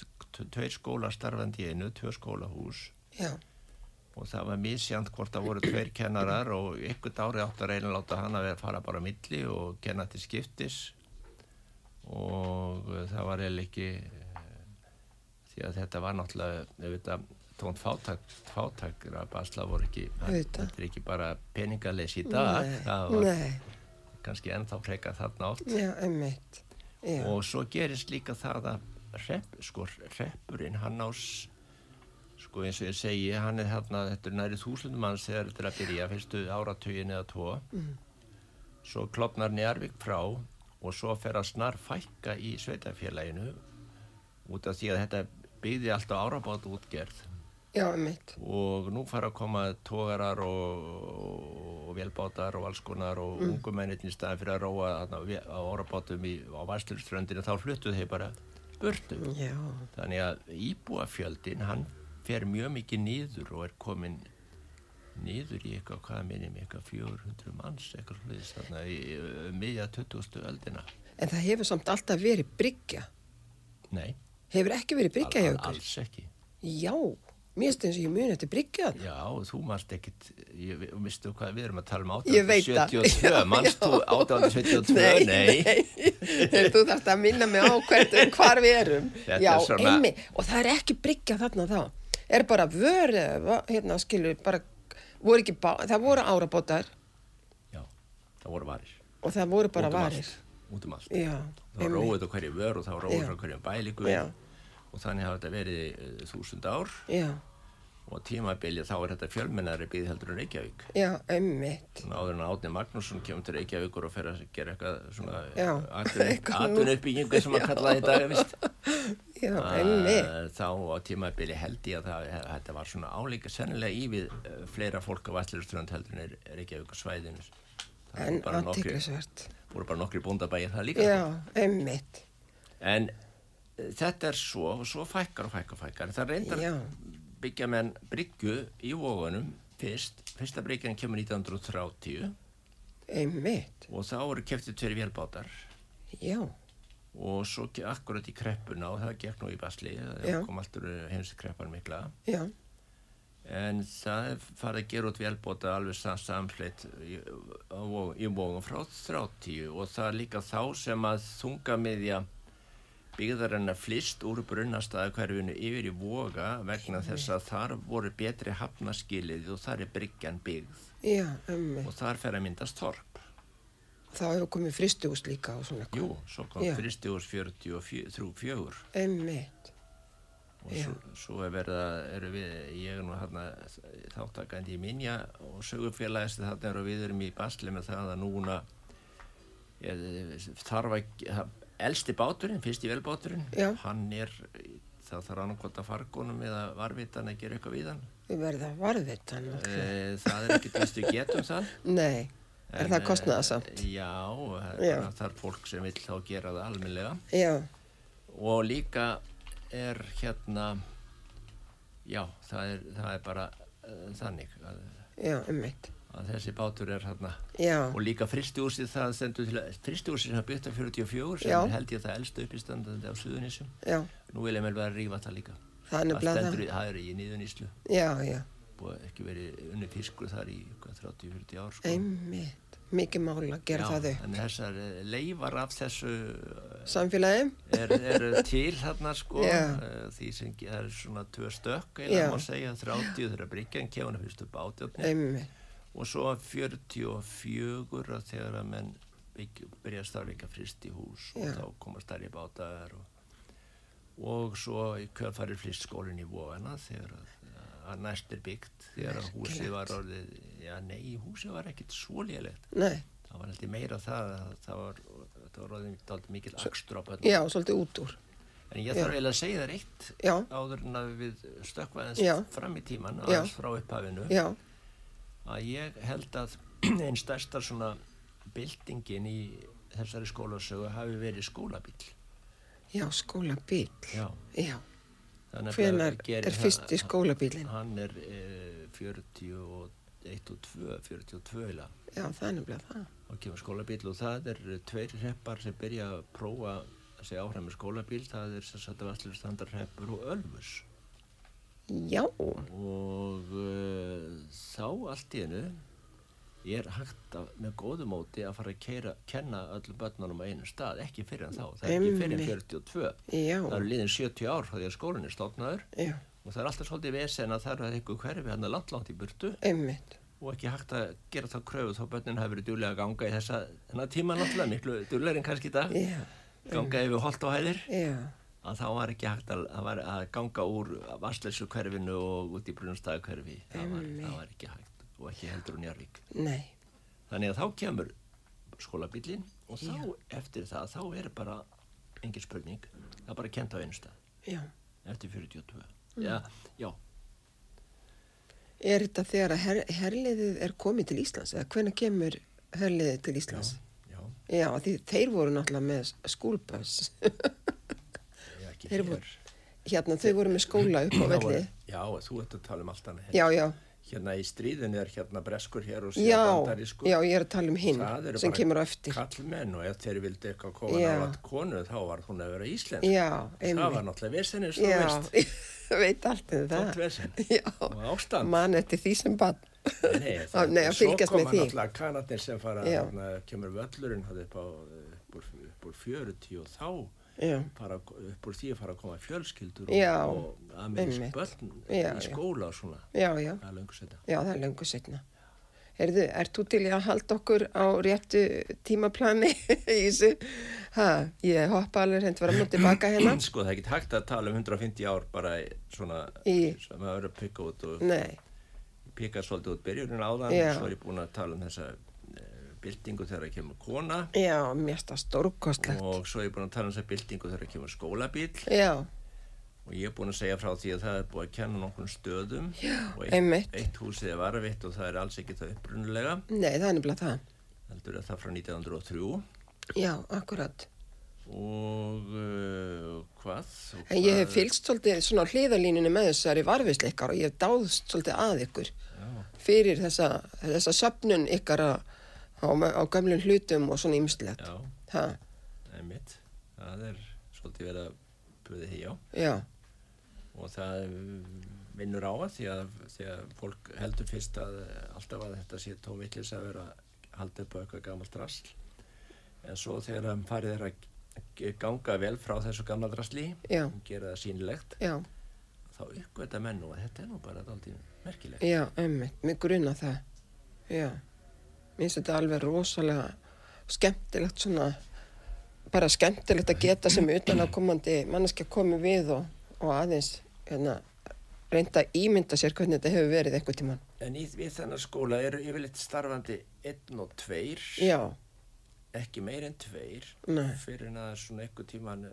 B: tveir skólar starfandi í einu, tveir skólahús
A: já,
B: og það var misjant hvort það voru tveir kennarar og ykkur dári átt að reyna að láta hann að vera fara bara á milli og kenna til skiptis og eh, það var eða ekki eh, því að þetta var náttúrulega auðvitað tónt fátak, fátak að basla voru ekki
A: Auðvitað.
B: þetta er ekki bara peningaleysi í dag það var
A: Nei,
B: kannski ennþá freka þarna oft
A: já, emmitt. Já,
B: og svo gerist líka það að hrepp, sko, hreppurinn hann ás sko eins og ég segi, hann er hérna þetta er næri þúsundum manns þegar þetta er að byrja fyrstu áratugin eða tvo svo klopnar Njarvík frá og svo fer að snar fækka í sveitafélaginu út af því að þetta byggði allt á árabátt útgerð
A: já emmitt.
B: og nú fara að koma tógarar og, og velbátar og alls konar og mm. ungumennirni staðan fyrir að róa þarna, ve- á orabátum í, á Vastlurströndinu þá fluttu þeir bara burtu
A: Já,
B: þannig að íbúafjöldin hann fer mjög mikið niður og er komin niður í eitthvað hvað minnum eitthvað 400 manns eitthvað sluðis þarna í uh, miðja 20. öldina
A: en það hefur samt alltaf verið bryggja.
B: nei,
A: Hefur ekki verið bryggja hjá
B: al-
A: ykkur?
B: alls ekki
A: Já, mér finnst eins og ég muni eftir bryggja þarna.
B: Já, þú marst ekkit, ég vistu hvað við erum að tala um
A: Ég veit það.
B: 1872, marst þú 1872,
A: Nei,
B: nei,
A: nei. þú þarfst að minna mig á hvert, hvar við erum.
B: Þetta
A: Já,
B: er svona-
A: einmi, og það er ekki bryggja þarna þá. Er bara vör, eða va- hérna, skilur, bara, voru ekki, bá, það voru árabótar
B: Já, það voru varir.
A: og það voru bara
B: Út um
A: varir.
B: Allt, út um allt.
A: Já,
B: Það var róið á hverju vör og það var róið
A: Já.
B: frá hverjum bælíku
A: Já.
B: og þannig hafa þetta verið eh, þúsund ár
A: Já,
B: og á tímabili þá er þetta fjölmennari býð heldur en Reykjavík.
A: já, einmitt.
B: Svona áður en Átni Magnússon kemur til Reykjavíkur og fer að gera eitthvað svona
A: Já. Eitthvað nú.
B: atunuppbyggingu sem að kalla þetta, veist.
A: Já, einmitt.
B: Að Eh, þá á tímabili held ég að það, að þetta var svona álíka sennilega í við eh, fleira fólk á Vestluströnd heldur en er, er ekki auka svæðinu Það
A: En
B: voru bara nokkrir-
A: aðtiklisvert.
B: voru bara nokkri bóndabæði það líka sko.
A: Já, einmitt.
B: en eh, þetta er svo og svo fækkar og fækkar og fækkar það reyndar
A: Já.
B: byggja menn bryggju í vóðunum fyrst, fyrsta bryggjan kemur 1930
A: Einmitt,
B: og þá eru keftið tveir vélbátar
A: já,
B: og svo ke- akkurat í kreppuna og það gekk nú í basli
A: Já.
B: það kom alltaf heimst kreppan mikla
A: já,
B: En það er farið að gera út velbóta alveg sam- samfleytt í á Vog- í vógum frá 30 og það er líka þá sem að þungamiðja byggðarinnar flist úr brunnastæðakverfinu yfir í voga vegna þess að þar voru betri hafnaskilið og þar er bryggjan byggð
A: já, einmitt.
B: og þar fer að myndast torp.
A: Þá hefur komið fristugust líka og svona.
B: Jú, svo kom
A: Já.
B: fristjóðs 43-4
A: Einmitt,
B: og svo, svo er verið að eru við, ég er nú hérna þáttakandi í minja og sögufélagist þarna eru við erum í basli með það að núna ég, þarf að það- elsti báturinn, fyrst í velbáturinn
A: Já.
B: hann er, það þarf annarkvölda fargónum eða varvitan að gera eitthvað við hann
A: við verðum að varðvita hann. náttúrulega.
B: e, það er ekkert vistu getum það
A: Nei, er
B: En,
A: það kostnaða
B: eh, Já, það
A: Já.
B: er bara- það er fólk sem vill þá gera það almennilega
A: Já,
B: og líka er hérna já, það er, það er bara uh, þannig að,
A: já, einmitt,
B: að þessi bátur er hérna
A: já,
B: og líka fristihúsið það stendur til að fristihúsið sem er byggt af 44 sem
A: Já.
B: er held ég það elsta uppistandandi á Suðunísum
A: já,
B: nú vil ég með vera að rífa það líka
A: það er nefnilega það.
B: stendur í, það er í nýðuníslu
A: Já, já,
B: og ekki verið unni fiskur þar í hvað, 30-40 ár sko.
A: einmitt, mikið mála að gera það upp.
B: en þessar eh, leifar af þessu eh,
A: Samfélagi,
B: er, er til þarna sko
A: Já.
B: eh, því sem ge- það er svona tvö stökk
A: Já.
B: eða má segja 30 þegar bryggjan kemur hana fyrstu bátjófni
A: einmitt,
B: og svo 44 að þegar að menn byggju- byrja að starfa eitthvað frist í hús og
A: Já.
B: þá koma starri bátar og, og svo í kjöfari frist skólinn í vóana þegar að, að næst er byggt þegar að húsið var orðið já nei, húsið var ekkit svo lélegt
A: nei,
B: það var heldur meira það að það var, það var orðið dálítið mikil akstur á bönnum
A: já, svolítið út úr.
B: En ég
A: Já.
B: þarf eiginlega að segja þér eitt
A: Já.
B: áður en að við stökkvaðins
A: Já.
B: fram í tíman,
A: Já.
B: aðeins frá upphafinu,
A: Já,
B: að ég held að [clears throat] einn stærsta svona byltingin í þessari skólasögu hafi verið skólabíl.
A: já, skólabíl,
B: Já.
A: já,
B: Þannig að
A: hvenar
B: það gerir
A: er
B: það-
A: fyrsti skólabílinn?
B: Hann er eh, 41 og 2, 42 eiginlega.
A: Já, það er nefnilega það.
B: Þá kemur skólabíl og það er tveir hreppar sem byrja að prófa að segja áhrað með skólabíl, það er sem sagt að allir standarhreppur og ölmus.
A: Já,
B: eh, og uh, þá allt í hennu er hægt að, með góðu móti að fara að keira, kenna öllum börnunum á einu stað, ekki fyrir en þá, það er ekki fyrir en
A: Einmitt.
B: 42
A: Já.
B: það eru liðin 70 ár þá því að skólinn er stofnaður
A: Já,
B: og það er alltaf svolítið vesen að það eru eitthvað hverfi hann er langt langt í burtu
A: einmitt.
B: og ekki hægt að gera þá kröfu þá börnin hafi verið djúlega að ganga í þessa þennan tíma náttúrulega, miklu djúlegri en kannski í dag
A: Já,
B: ganga yfir holt og hæðir
A: já,
B: að þá var ekki hægt að, að, var, að ganga úr vassleysu hverfinu og út í brunstæðu hverfi það var, það var ekki hægt og ekki heldur úr Njarvík
A: nei,
B: þannig að þá kemur skólabillin og þá eftir það þá er bara engin spurning það er bara kent á einu stað
A: já.
B: eftir 42
A: Mm.
B: já, já,
A: Er þetta þegar að her, herliðið er komið til Íslands eða hvenær kemur herliðið til
B: já,
A: Íslands?
B: já,
A: Já, já því þeir voru náttúrulega með skúlpass.
B: já ekki
A: Þeir
B: hér.
A: voru hérna, þau voru með skóla upp á
B: Það voru-
A: velli.
B: já, þú ert að tala um allt annað
A: Já, já,
B: hérna í stríðinu er hérna breskur hér og
A: já,
B: síðan bandarískur
A: já, ég er að tala um hinn
B: Það eru
A: sem
B: bara
A: kemur á eftir.
B: kallmenn og ef þeir vildi eitthvað koma
A: Já.
B: nálat konu þá var hún að vera íslensk
A: Já,
B: það var
A: einmitt.
B: náttúrulega vesenið svo
A: Já,
B: veist
A: [laughs] ég veit allt um það.
B: Tótt vesen. og
A: Já,
B: ástand
A: mann eftir því sem bann. [laughs]
B: Nei, það,
A: Nei, að fylgjast
B: svo
A: með
B: koma
A: því.
B: náttúrulega kanadnir sem fara
A: Já.
B: þarna kemur völlurinn þarna upp, á, upp, úr, upp úr 40 og þá
A: Já,
B: fara, upp úr því að fara að koma fjölskyldur
A: Já,
B: og, og amerísk
A: einmitt.
B: börn
A: Já, já.
B: í skóla og svona
A: já, já,
B: það er löngu setja
A: já, það er löngu setna. Herðu, ert þú til í að halda okkur á réttu tímaplani [laughs] í þessu? Ha, ég hoppa alveg hent var að múti baka hérna.
B: [clears throat]
A: hennar.
B: sko það er ekki hægt að tala um 150 ár bara í svona
A: Í-
B: sem að vera að pikka út og
A: Nei,
B: pikka svolítið út byrjunin á þann
A: Já.
B: svo er ég búin að tala um þessa uh, byltingu þegar það kemur kona
A: já, mér stað stórkostlegt.
B: og svo er ég búin að tala um þessa byltingu þegar það kemur skólabíl
A: Já,
B: og ég er búin að segja frá því að það er búið að kenna nokkrum stöðum Já, og
A: einmitt.
B: eitt, eitt húsið er varfitt og það er alls ekki það upprunulega
A: nei, það er nefnilega það.
B: heldur að það frá 1903
A: Já, akkurat.
B: og uh, hvað? Og
A: En ég
B: hvað-
A: hef fylgst svolítið svona á hliðarlínunni með þessari varfisleikar og ég hef dáðst svolítið að ykkur fyrir þessa, þessa söpnun ykkar á, á, á gamlum hlutum og svona ýmislegt.
B: Já,
A: Ha,
B: einmitt það er svolítið verið að buðið því á
A: já,
B: og það eh, vinnur á að því að, því að fólk heldur fyrst að eh, alltaf að þetta sé tómiðlis að vera að halda upp á eitthvað gamalt drasl en svo þegar hann farið er að g- ganga vel frá þessu gamla drasli
A: Já.
B: gera það sínlegt
A: já,
B: þá uppgöta menn nú að þetta er nú bara daldið merkilegt
A: já, emmitt, mig gruna það. Já, mér finnst þetta alveg rosalega skemmtilegt svona, bara skemmtilegt að geta sem utanakomandi manneskja komi við og, og aðeins, hérna, reynda að ímynda sér hvernig þetta hefur verið eitthvað tímann.
B: en í, við þennan skóla eru yfirleitt starfandi einn og tveir
A: Já,
B: ekki meir en tveir
A: Nei.
B: fyrir en að svona einhver tíman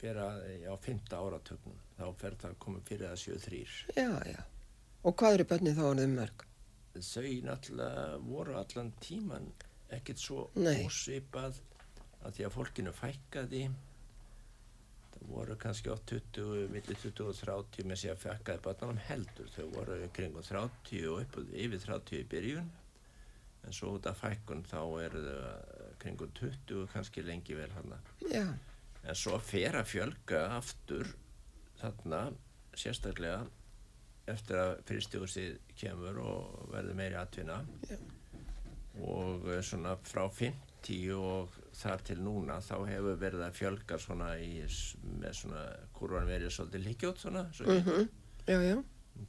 B: fyrir að á fymta áratögnum þá fer það að koma fyrir að sjö þrýr
A: já, já. Og hvað eru börnið þá orðið mörg?
B: þau náttúrulega voru allan tíman ekkert svo
A: Nei.
B: ósvipað að því að fólkinu fækkaði það voru kannski á 20, milli 20 og 30 með sér að fækkaði barnanum heldur þau voru kring og 30 og upp, yfir 30 í byrjun en svo út af fækkun þá eru þau kring og 20 kannski lengi vel hana
A: Já,
B: en svo fer að fjölga aftur þarna sérstaklega eftir að fyrstjóðsið kemur og verður meiri atvinna
A: Já.
B: og eh, svona frá 50 og þar til núna þá hefur verið að fjölga svona í, s- með svona kurvan verið svolítið líkjótt svona svo mm
A: Mhm.
B: -hmm.
A: já, já.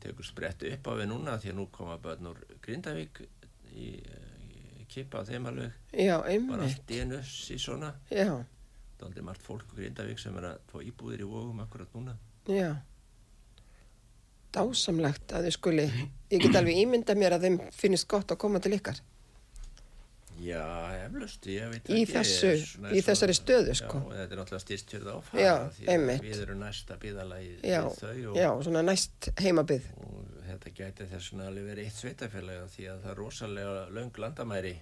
B: tekur sprettu upp á við núna því að nú koma börn úr Grindavík í, eh, í kipa þeim alveg
A: Já,
B: bara
A: einmitt.
B: allt í enu í svona
A: Já,
B: Það er aldrei margt fólk og grindavík sem er að fá íbúðir í vógum akkurat núna.
A: já. Dásamlegt að þau skuli, ég get alveg ímynda mér að þeim finnist gott að koma til ykkar.
B: Já, eflaust, ég veit
A: Í
B: ekki.
A: þessu-
B: ég er svona-
A: í þessari stöðu, sko.
B: Já, og þetta er náttúrulega hérna styrst hjörð áfæða.
A: Já, einmitt.
B: Við erum næsta bíðalagi
A: Já,
B: við þau og,
A: já, svona næst heimabið.
B: og þetta gæti þess vegna alveg verið eitt sveitafélag af því að það er rosalega löng landamæri.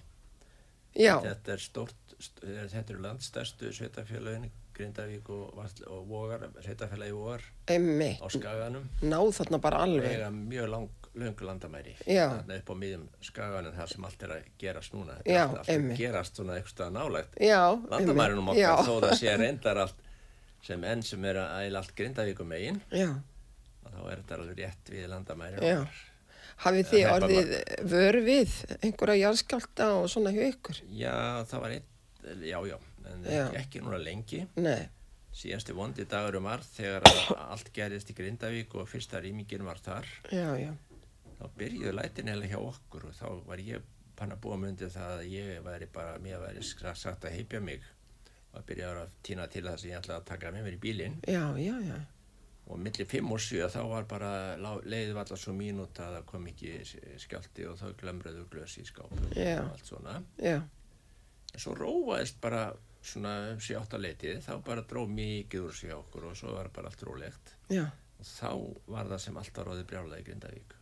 A: Já,
B: Þetta er stort, st eh, þetta eru landstærstu sveitafélagin, Grindavík og, Vatl- og Vogar, sveitafélagi Vogar
A: einmitt.
B: á Skaganum.
A: Náð þarna bara alveg.
B: eiga mjög lang, löngu landamæri
A: Já.
B: þarna upp á miðjum skaganum þar sem allt er að gerast núna Þetta
A: Já,
B: er allt, allt að
A: einmitt.
B: gerast svona eitthvað nálægt
A: Já,
B: landamærinum
A: já.
B: um okkar þó
A: [laughs]
B: það sé reyndar allt sem enn sem er að æla allt grindavíkum megin
A: Já,
B: og þá er þetta alveg rétt við landamærin
A: já. hafið þið
B: Það er bara-
A: orðið vör við einhverja jarðskjálta og svona hjá ykkur?
B: Já, það var einn, já, já, en
A: Já.
B: Ekki, ekki núna lengi.
A: Nei,
B: Síðasti vondi dagurum var þegar að allt gerðist í Grindavík og fyrsta rýmingin var þar.
A: já, já,
B: Þá byrjuðu lætin eða hjá okkur og þá var ég panna búa myndið það að ég væri bara, mér væri skra- sagt að heipja mig og byrjaði að týna til það sem ég ætlaði að taka með mér í bílinn
A: já, já, já,
B: og millir 5 og 7 þá var bara lá- leiðið var alltaf svo mínúta að það kom ekki s- skjálfti og þá glemröðu glös í skápum
A: Já.
B: og allt svona.
A: já,
B: En svo róaðist bara svona um sé áttaleitið, þá bara dró mikið úr sig á okkur og svo var bara allt rólegt.
A: já,
B: Og þá var það sem alltaf róði brjálaði í Grindavík.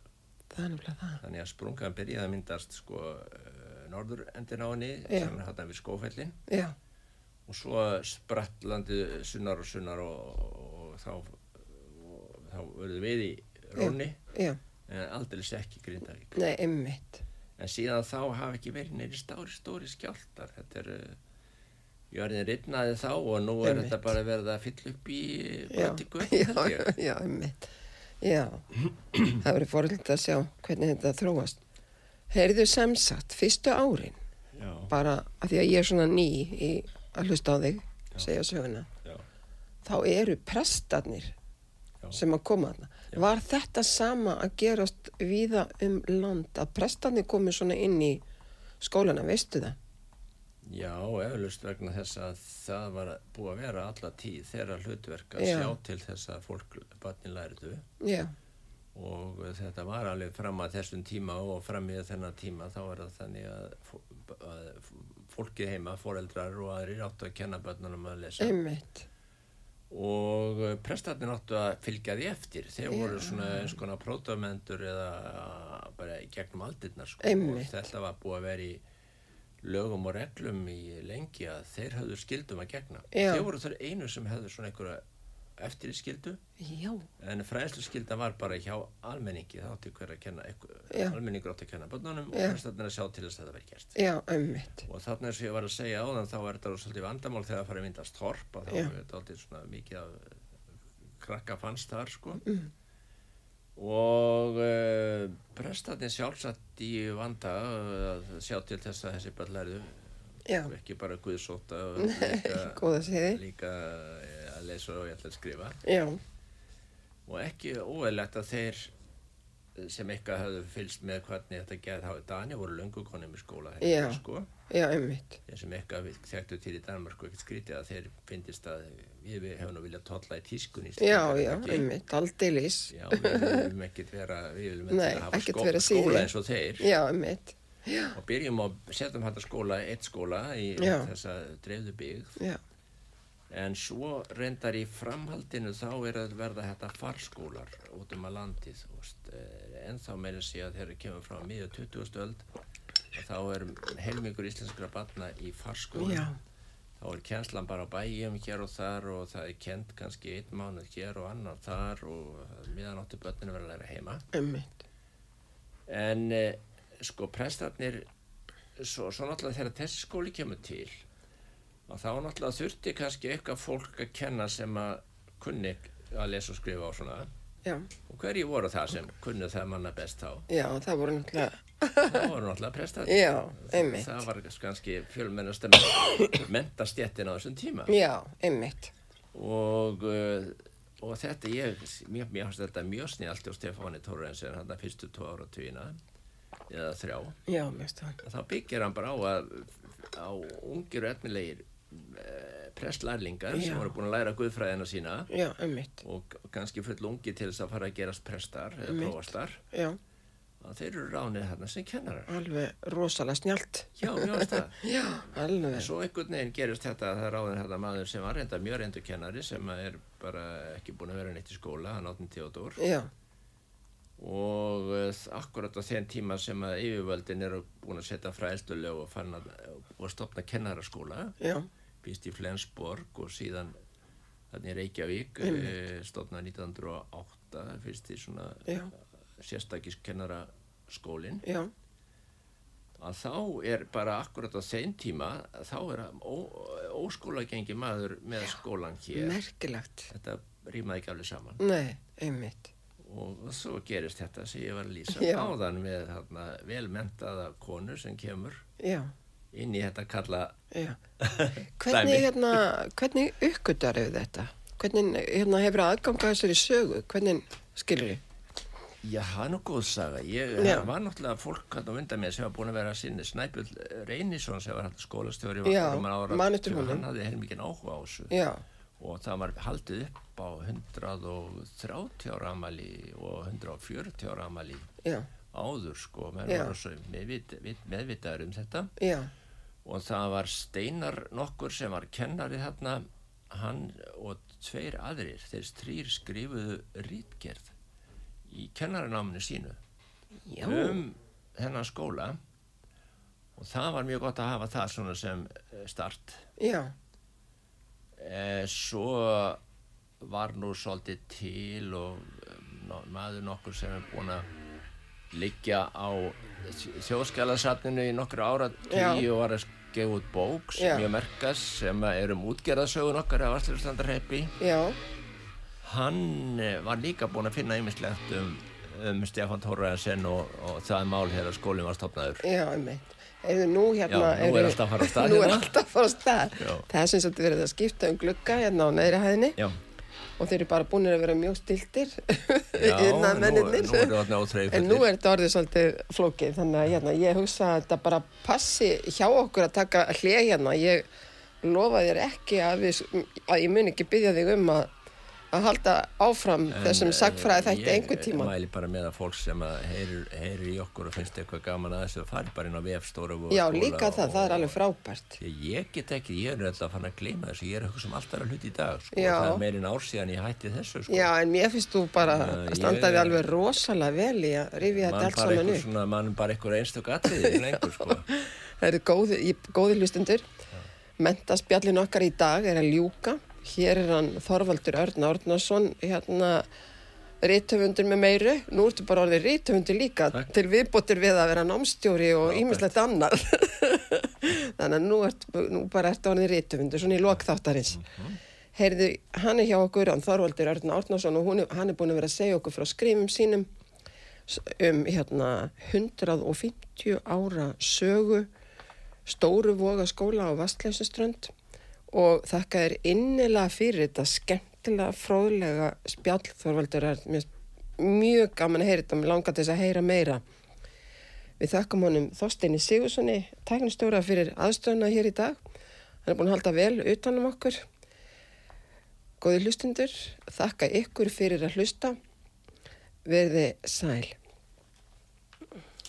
A: það er nefnilega það.
B: Þannig að sprungan byrjaði að myndast sko eh, norður endin á henni
A: Já.
B: sem er hættan við skófellin
A: Já,
B: og svo spratt landið sunnar og sunnar og, og, þá, og þá verðu við í róni
A: já,
B: en aldrei ekki í Grindavík.
A: nei, ymmit,
B: En síðan þá hafa ekki verið neyri stóri, stóri skjáltar. Þetta er, uh, jörðin rifnaði þá og nú er
A: Einmitt.
B: þetta bara verið að fylla upp í
A: já,
B: bæti
A: já,
B: gutt, held ég.
A: [laughs] já, ymmit, já, það verið fórhald að sjá hvernig þetta þróast. Heyrðu sem sagt, fyrstu árin,
B: Já,
A: bara að því að ég er svona ný í að hlusta á þig, segja söguna,
B: já,
A: þá eru prestarnir
B: já.
A: sem að koma þarna. Var þetta sama að gerast víða um land að prestarnir komi svona inn í skólana, veistu það?
B: Já, eflust vegna þess að það var að- búið að vera alla tíð þeirra hlutverk að
A: Já.
B: sjá til þess að fólk barnin læriðu
A: Já,
B: og þetta var alveg fram að þessum tíma og fram í þennan tíma þá var það þannig að, fó- að fólkið heima, foreldrar og aðrir áttu að kenna börnunum að lesa
A: einmitt.
B: og eh, prestarnir áttu að fylgja því eftir þeir voru svona eins konar prótamendur eða eh, bara í gegnum aldirnar sko. og
A: Einmitt.
B: þetta var búið að vera í lögum og reglum í lengi að þeir höfðu skildum að gegna
A: Já.
B: þeir voru þar einu sem höfðu svona einhverja eftir skildu
A: Já,
B: en fræðslu skilda var bara hjá almenningi þá átti hver að kenna einhver,
A: Já.
B: almenningur átti að kenna börnunum
A: Já.
B: og prestarnir að sjá til þess að þetta veri gert
A: já, einmitt.
B: og þarna eins og ég var að segja áðan þá er þetta orðið svolítið vandamál þegar það farið myndast horp að þá
A: Já.
B: er þetta aldrei svona mikið að krakka fannst þar sko
A: Mm.
B: og uh, prestatni sjálfsagt í vanda eh, að sjá til þess að þessi bara lærðu
A: Já, eh,
B: ekki bara guðsóta og líka,
A: góða siði.
B: líka eh, að lesa og ég ætla að skrifa
A: Já,
B: og ekki óeðlegt að þeir eh, sem eitthvað hafðu fylst með hvernig þetta gerð hafið Dani voru löngu konum í skóla
A: Já.
B: sko
A: já, einmitt.
B: þeir sem eitthvað við þekktu til í Danmarku ekkert skrítið að þeir finnist að við, við hefum nú viljað tolla í tískun í
A: Já, já, einmitt, aldeilis.
B: já, við viljum ekkert vera við viljum
A: Nei,
B: ekkert hafa
A: ekkert
B: skó,
A: vera síðri.
B: skóla eins og þeir
A: Já, einmitt.
B: og byrjum að setjum hægt að skóla eitt skóla í
A: Já.
B: þessa dreifðu byggð
A: Já,
B: en svo reyndar í framhaldinu þá er að verða þetta farskólar út um að landið og st- eh, ennþá meira sé að þegar við kemum frá miðja 20. öld að þá er heilmingur íslenskra batna í farskóla
A: Já.
B: þá er kennslan bara á bæjum hér og þar og það er kent kannski einn mánuð hér og annar þar og meðan áttu börninu verða að læra heima
A: einmitt.
B: en eh, sko prestarnir svo, svo náttúrulega þegar þessi skóli kemur til og þá náttúrulega þurfti kannski eitthvað fólk að kenna sem að kunni að lesa og skrifa og svona
A: Já,
B: og hverju voru það sem kunnu það manna best þá
A: já, það voru náttúrulega,
B: það voru náttúrulega prestarnir
A: já, einmitt.
B: það var kannski fjölmennast mentastjettin á þessum tíma
A: Já, einmitt.
B: og, uh, og þetta ég, mér, mér hans þetta mjög snjált og Stefáni Tórensen hann að fyrstu tvo ára tvína eða þrjá
A: Já, mér stóðan.
B: þá byggir hann bara á að á ungir og efnilegir eh, prestlærlingar sem
A: Já.
B: voru búin að læra guðfræðina sína
A: Já, einmitt.
B: og kannski full ungi til þess að fara að gerast prestar eða
A: Einmitt.
B: prófastar
A: Já,
B: að þeir eru ránið þarna sem kennarar
A: alveg rosalega snjált.
B: já, mjög að
A: [laughs]
B: það
A: Já, alveg.
B: en svo einhvern veginn gerist þetta að það er ráðin þetta maður sem var reynda mjög reyndu kennari sem að er bara ekki búin að vera neitt í skóla hann áttin Theodor
A: Já,
B: og uh, akkurat á þeim tíma sem að yfirvöldin eru búin að setja fræðslulög og, fann að- og stopna kennaraskóla
A: já,
B: býst í Flensborg og síðan þannig Reykjavík eh, stofna 1908 fyrst í svona
A: Já.
B: sérstakiskennara skólin
A: já,
B: að þá er bara akkurat á þeim tíma að þá er að ó- óskólagengi maður með skólan hér
A: merkilegt.
B: þetta rýmaði ekki alveg saman
A: Nei, einmitt.
B: og svo gerist þetta sem ég var að lýsa
A: Já.
B: áðan með þarna, velmentaða konu sem kemur
A: já,
B: inn í þetta kalla
A: [laughs] já. Hvernig, hérna, hvernig uppgötar hefur þetta? Hvernig hérna, hefur aðganga þessari sögu? Hvernig skilur þið?
B: Já, það er nú góð saga. Ég
A: Já.
B: það var náttúrulega fólk hann á undan mér sem var búin að vera að sinni Snæbjörn Reynisson sem var hann skólastjóri
A: Já,
B: um ára,
A: man eftir honum.
B: Hann hafði heilmikinn áhuga á þessu
A: Já,
B: og það var haldið upp á 130 ára amali og 140 ára amali
A: já,
B: áður sko, menn
A: Já.
B: voru svo meðvit, vit- meðvitaður um þetta
A: já,
B: og það var Steinar nokkur sem var kennari þarna hann og tveir aðrir þeir þrýr skrifuðu rítgerð í kennarináminu sínu
A: já,
B: um þennan skóla og það var mjög gott að hafa það svona sem eh, start
A: já,
B: e, svo var nú svolítið til og eh, no, maður nokkur sem er búin að liggja á þjóðskjálasafninu í nokkru ára
A: Já.
B: tíu og var að gefa út bók sem
A: Já.
B: ég merkast sem að er um útgerðasögun okkar af Aslustandarheppi
A: já,
B: Hann eh, var líka búinn að finna ýmislegt um, um Stefán Tóraðarsen og, og það er mál þegar skólinn var stopnaður.
A: já, einmitt. Eða nú hérna...
B: Já, nú er
A: eru-
B: allt að fara af stað
A: [laughs] Nú er
B: hérna.
A: alltaf að fara á stað.
B: Já.
A: Það er sem sagt verið að skipta um glugga hérna á neðri hæðinni
B: Já,
A: og þeir eru bara búinir að vera mjög stiltir [laughs]
B: já nú, nú
A: iðnaðarmennirnir.
B: er það orðin á
A: En nú
B: þreiföllir.
A: er þetta orðið svolítið flókið, þannig að hérna, ég hugsa að þetta bara passi hjá okkur að taka hlið hérna. Ég lofa þér ekki að, við, að ég mun ekki byggja þig um að, að halda áfram þessum sagfræði þætti einhver tíma.
B: eh, Ég mæli bara með að fólk sem að heyrir, heyrir í okkur og finnst eitthvað gaman að þessu fari bara inn á vefstóra og
A: Já, líka það, það er alveg frábært.
B: Ég, ég get ekki, ég er alltaf fann að gleyma þessu, ég er eitthvað sem alltaf er að hluti í dag, sko,
A: Já.
B: það er meirinn ár síðan ég hætti þessu, sko.
A: Já, en mér finnst þú bara
B: Já,
A: að
B: ég-
A: standa þig alveg rosalega vel í að rifja þetta
B: mann
A: allt
B: bara
A: saman
B: eitthvað
A: upp.
B: svona, mann bara eitthvað einstök atriði, lengur,
A: [laughs]
B: sko.
A: Það eru góði, í- góði hlustundur. Mentaspjallin okkar í dag er að ljúka. Hér er hann Þorvaldur Örn Árnason, hérna ríttöfundur með meiru. Nú ertu bara orðið ríttöfundur líka
B: Takk.
A: til viðbóttir við að vera námstjóri og
B: Frábært.
A: ýmislegt annað. [laughs] Þannig að nú, ert, nú bara ertu orðið ríttöfundur, svona í lokþáttarins. Heyrðu, hann er hjá okkur, hann Þorvaldur Örn Árnason og hún, er- hann er búin að vera að segja okkur frá skrifum sínum s- um hérna 150 ára sögu stóru voga skóla á Vastleysuströnd og þakka þér innilega fyrir þetta skemmtilega fróðlega spjall Þorvaldur er mjög gaman að heyra þetta, mér langar til þess að heyra meira Við þakkum honum Þorsteini Sigurssoni, tæknistjóra fyrir aðstöðuna hér í dag hann er búin að halda vel utanum okkur Góði hlustundur, þakka ykkur fyrir að hlusta verði sæl